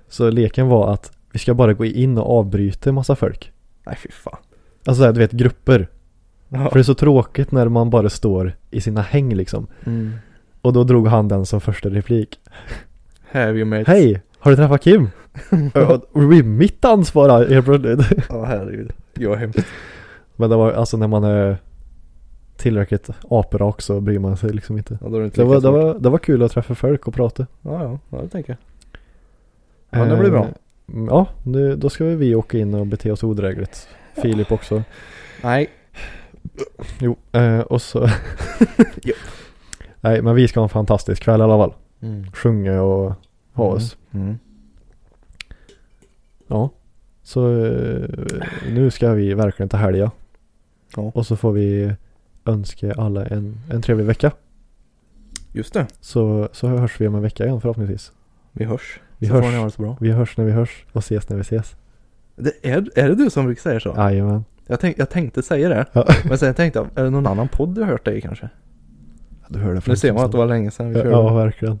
Så leken var att vi ska bara gå in och avbryta en massa folk. Nej fy fan. Alltså så här, du vet grupper. Ja. För det är så tråkigt när man bara står i sina häng liksom. Mm. Och då drog han den som första replik. Have you mates? Hej! Har du träffat Kim? Ö, och det blir mitt ansvar här helt plötsligt. Ja herregud. Jag är hemskt. Men det var alltså när man är tillräckligt aprak så bryr man sig liksom inte. Ja, då är det inte Det var, lika det, svårt. var, det var kul att träffa folk och prata. Ja, ja, ja, det tänker jag. Ja, det blir bra. Eh, Ja, nu, då ska vi åka in och bete oss odrägligt. Filip också. Nej. Jo, eh, och så... Jo. Nej, men vi ska ha en fantastisk kväll i alla fall. Mm. Sjunga och ha Mm. oss. Mm. Ja. Så eh, nu ska vi verkligen ta helga. Ja. Och så får vi önska alla en, en trevlig vecka. Just det. Så, så hörs vi om en vecka igen förhoppningsvis. Vi hörs. Vi så hörs. får ni ha det så bra. Vi hörs när vi hörs och ses när vi ses. Det är, är det du som brukar säga så? Jajamän. Jag, tänk, jag tänkte säga det. Ja. Men sen tänkte jag, är det någon annan podd du har hört det i kanske? Du hörde Nu ser man att det var länge sedan vi körde. Ja, verkligen.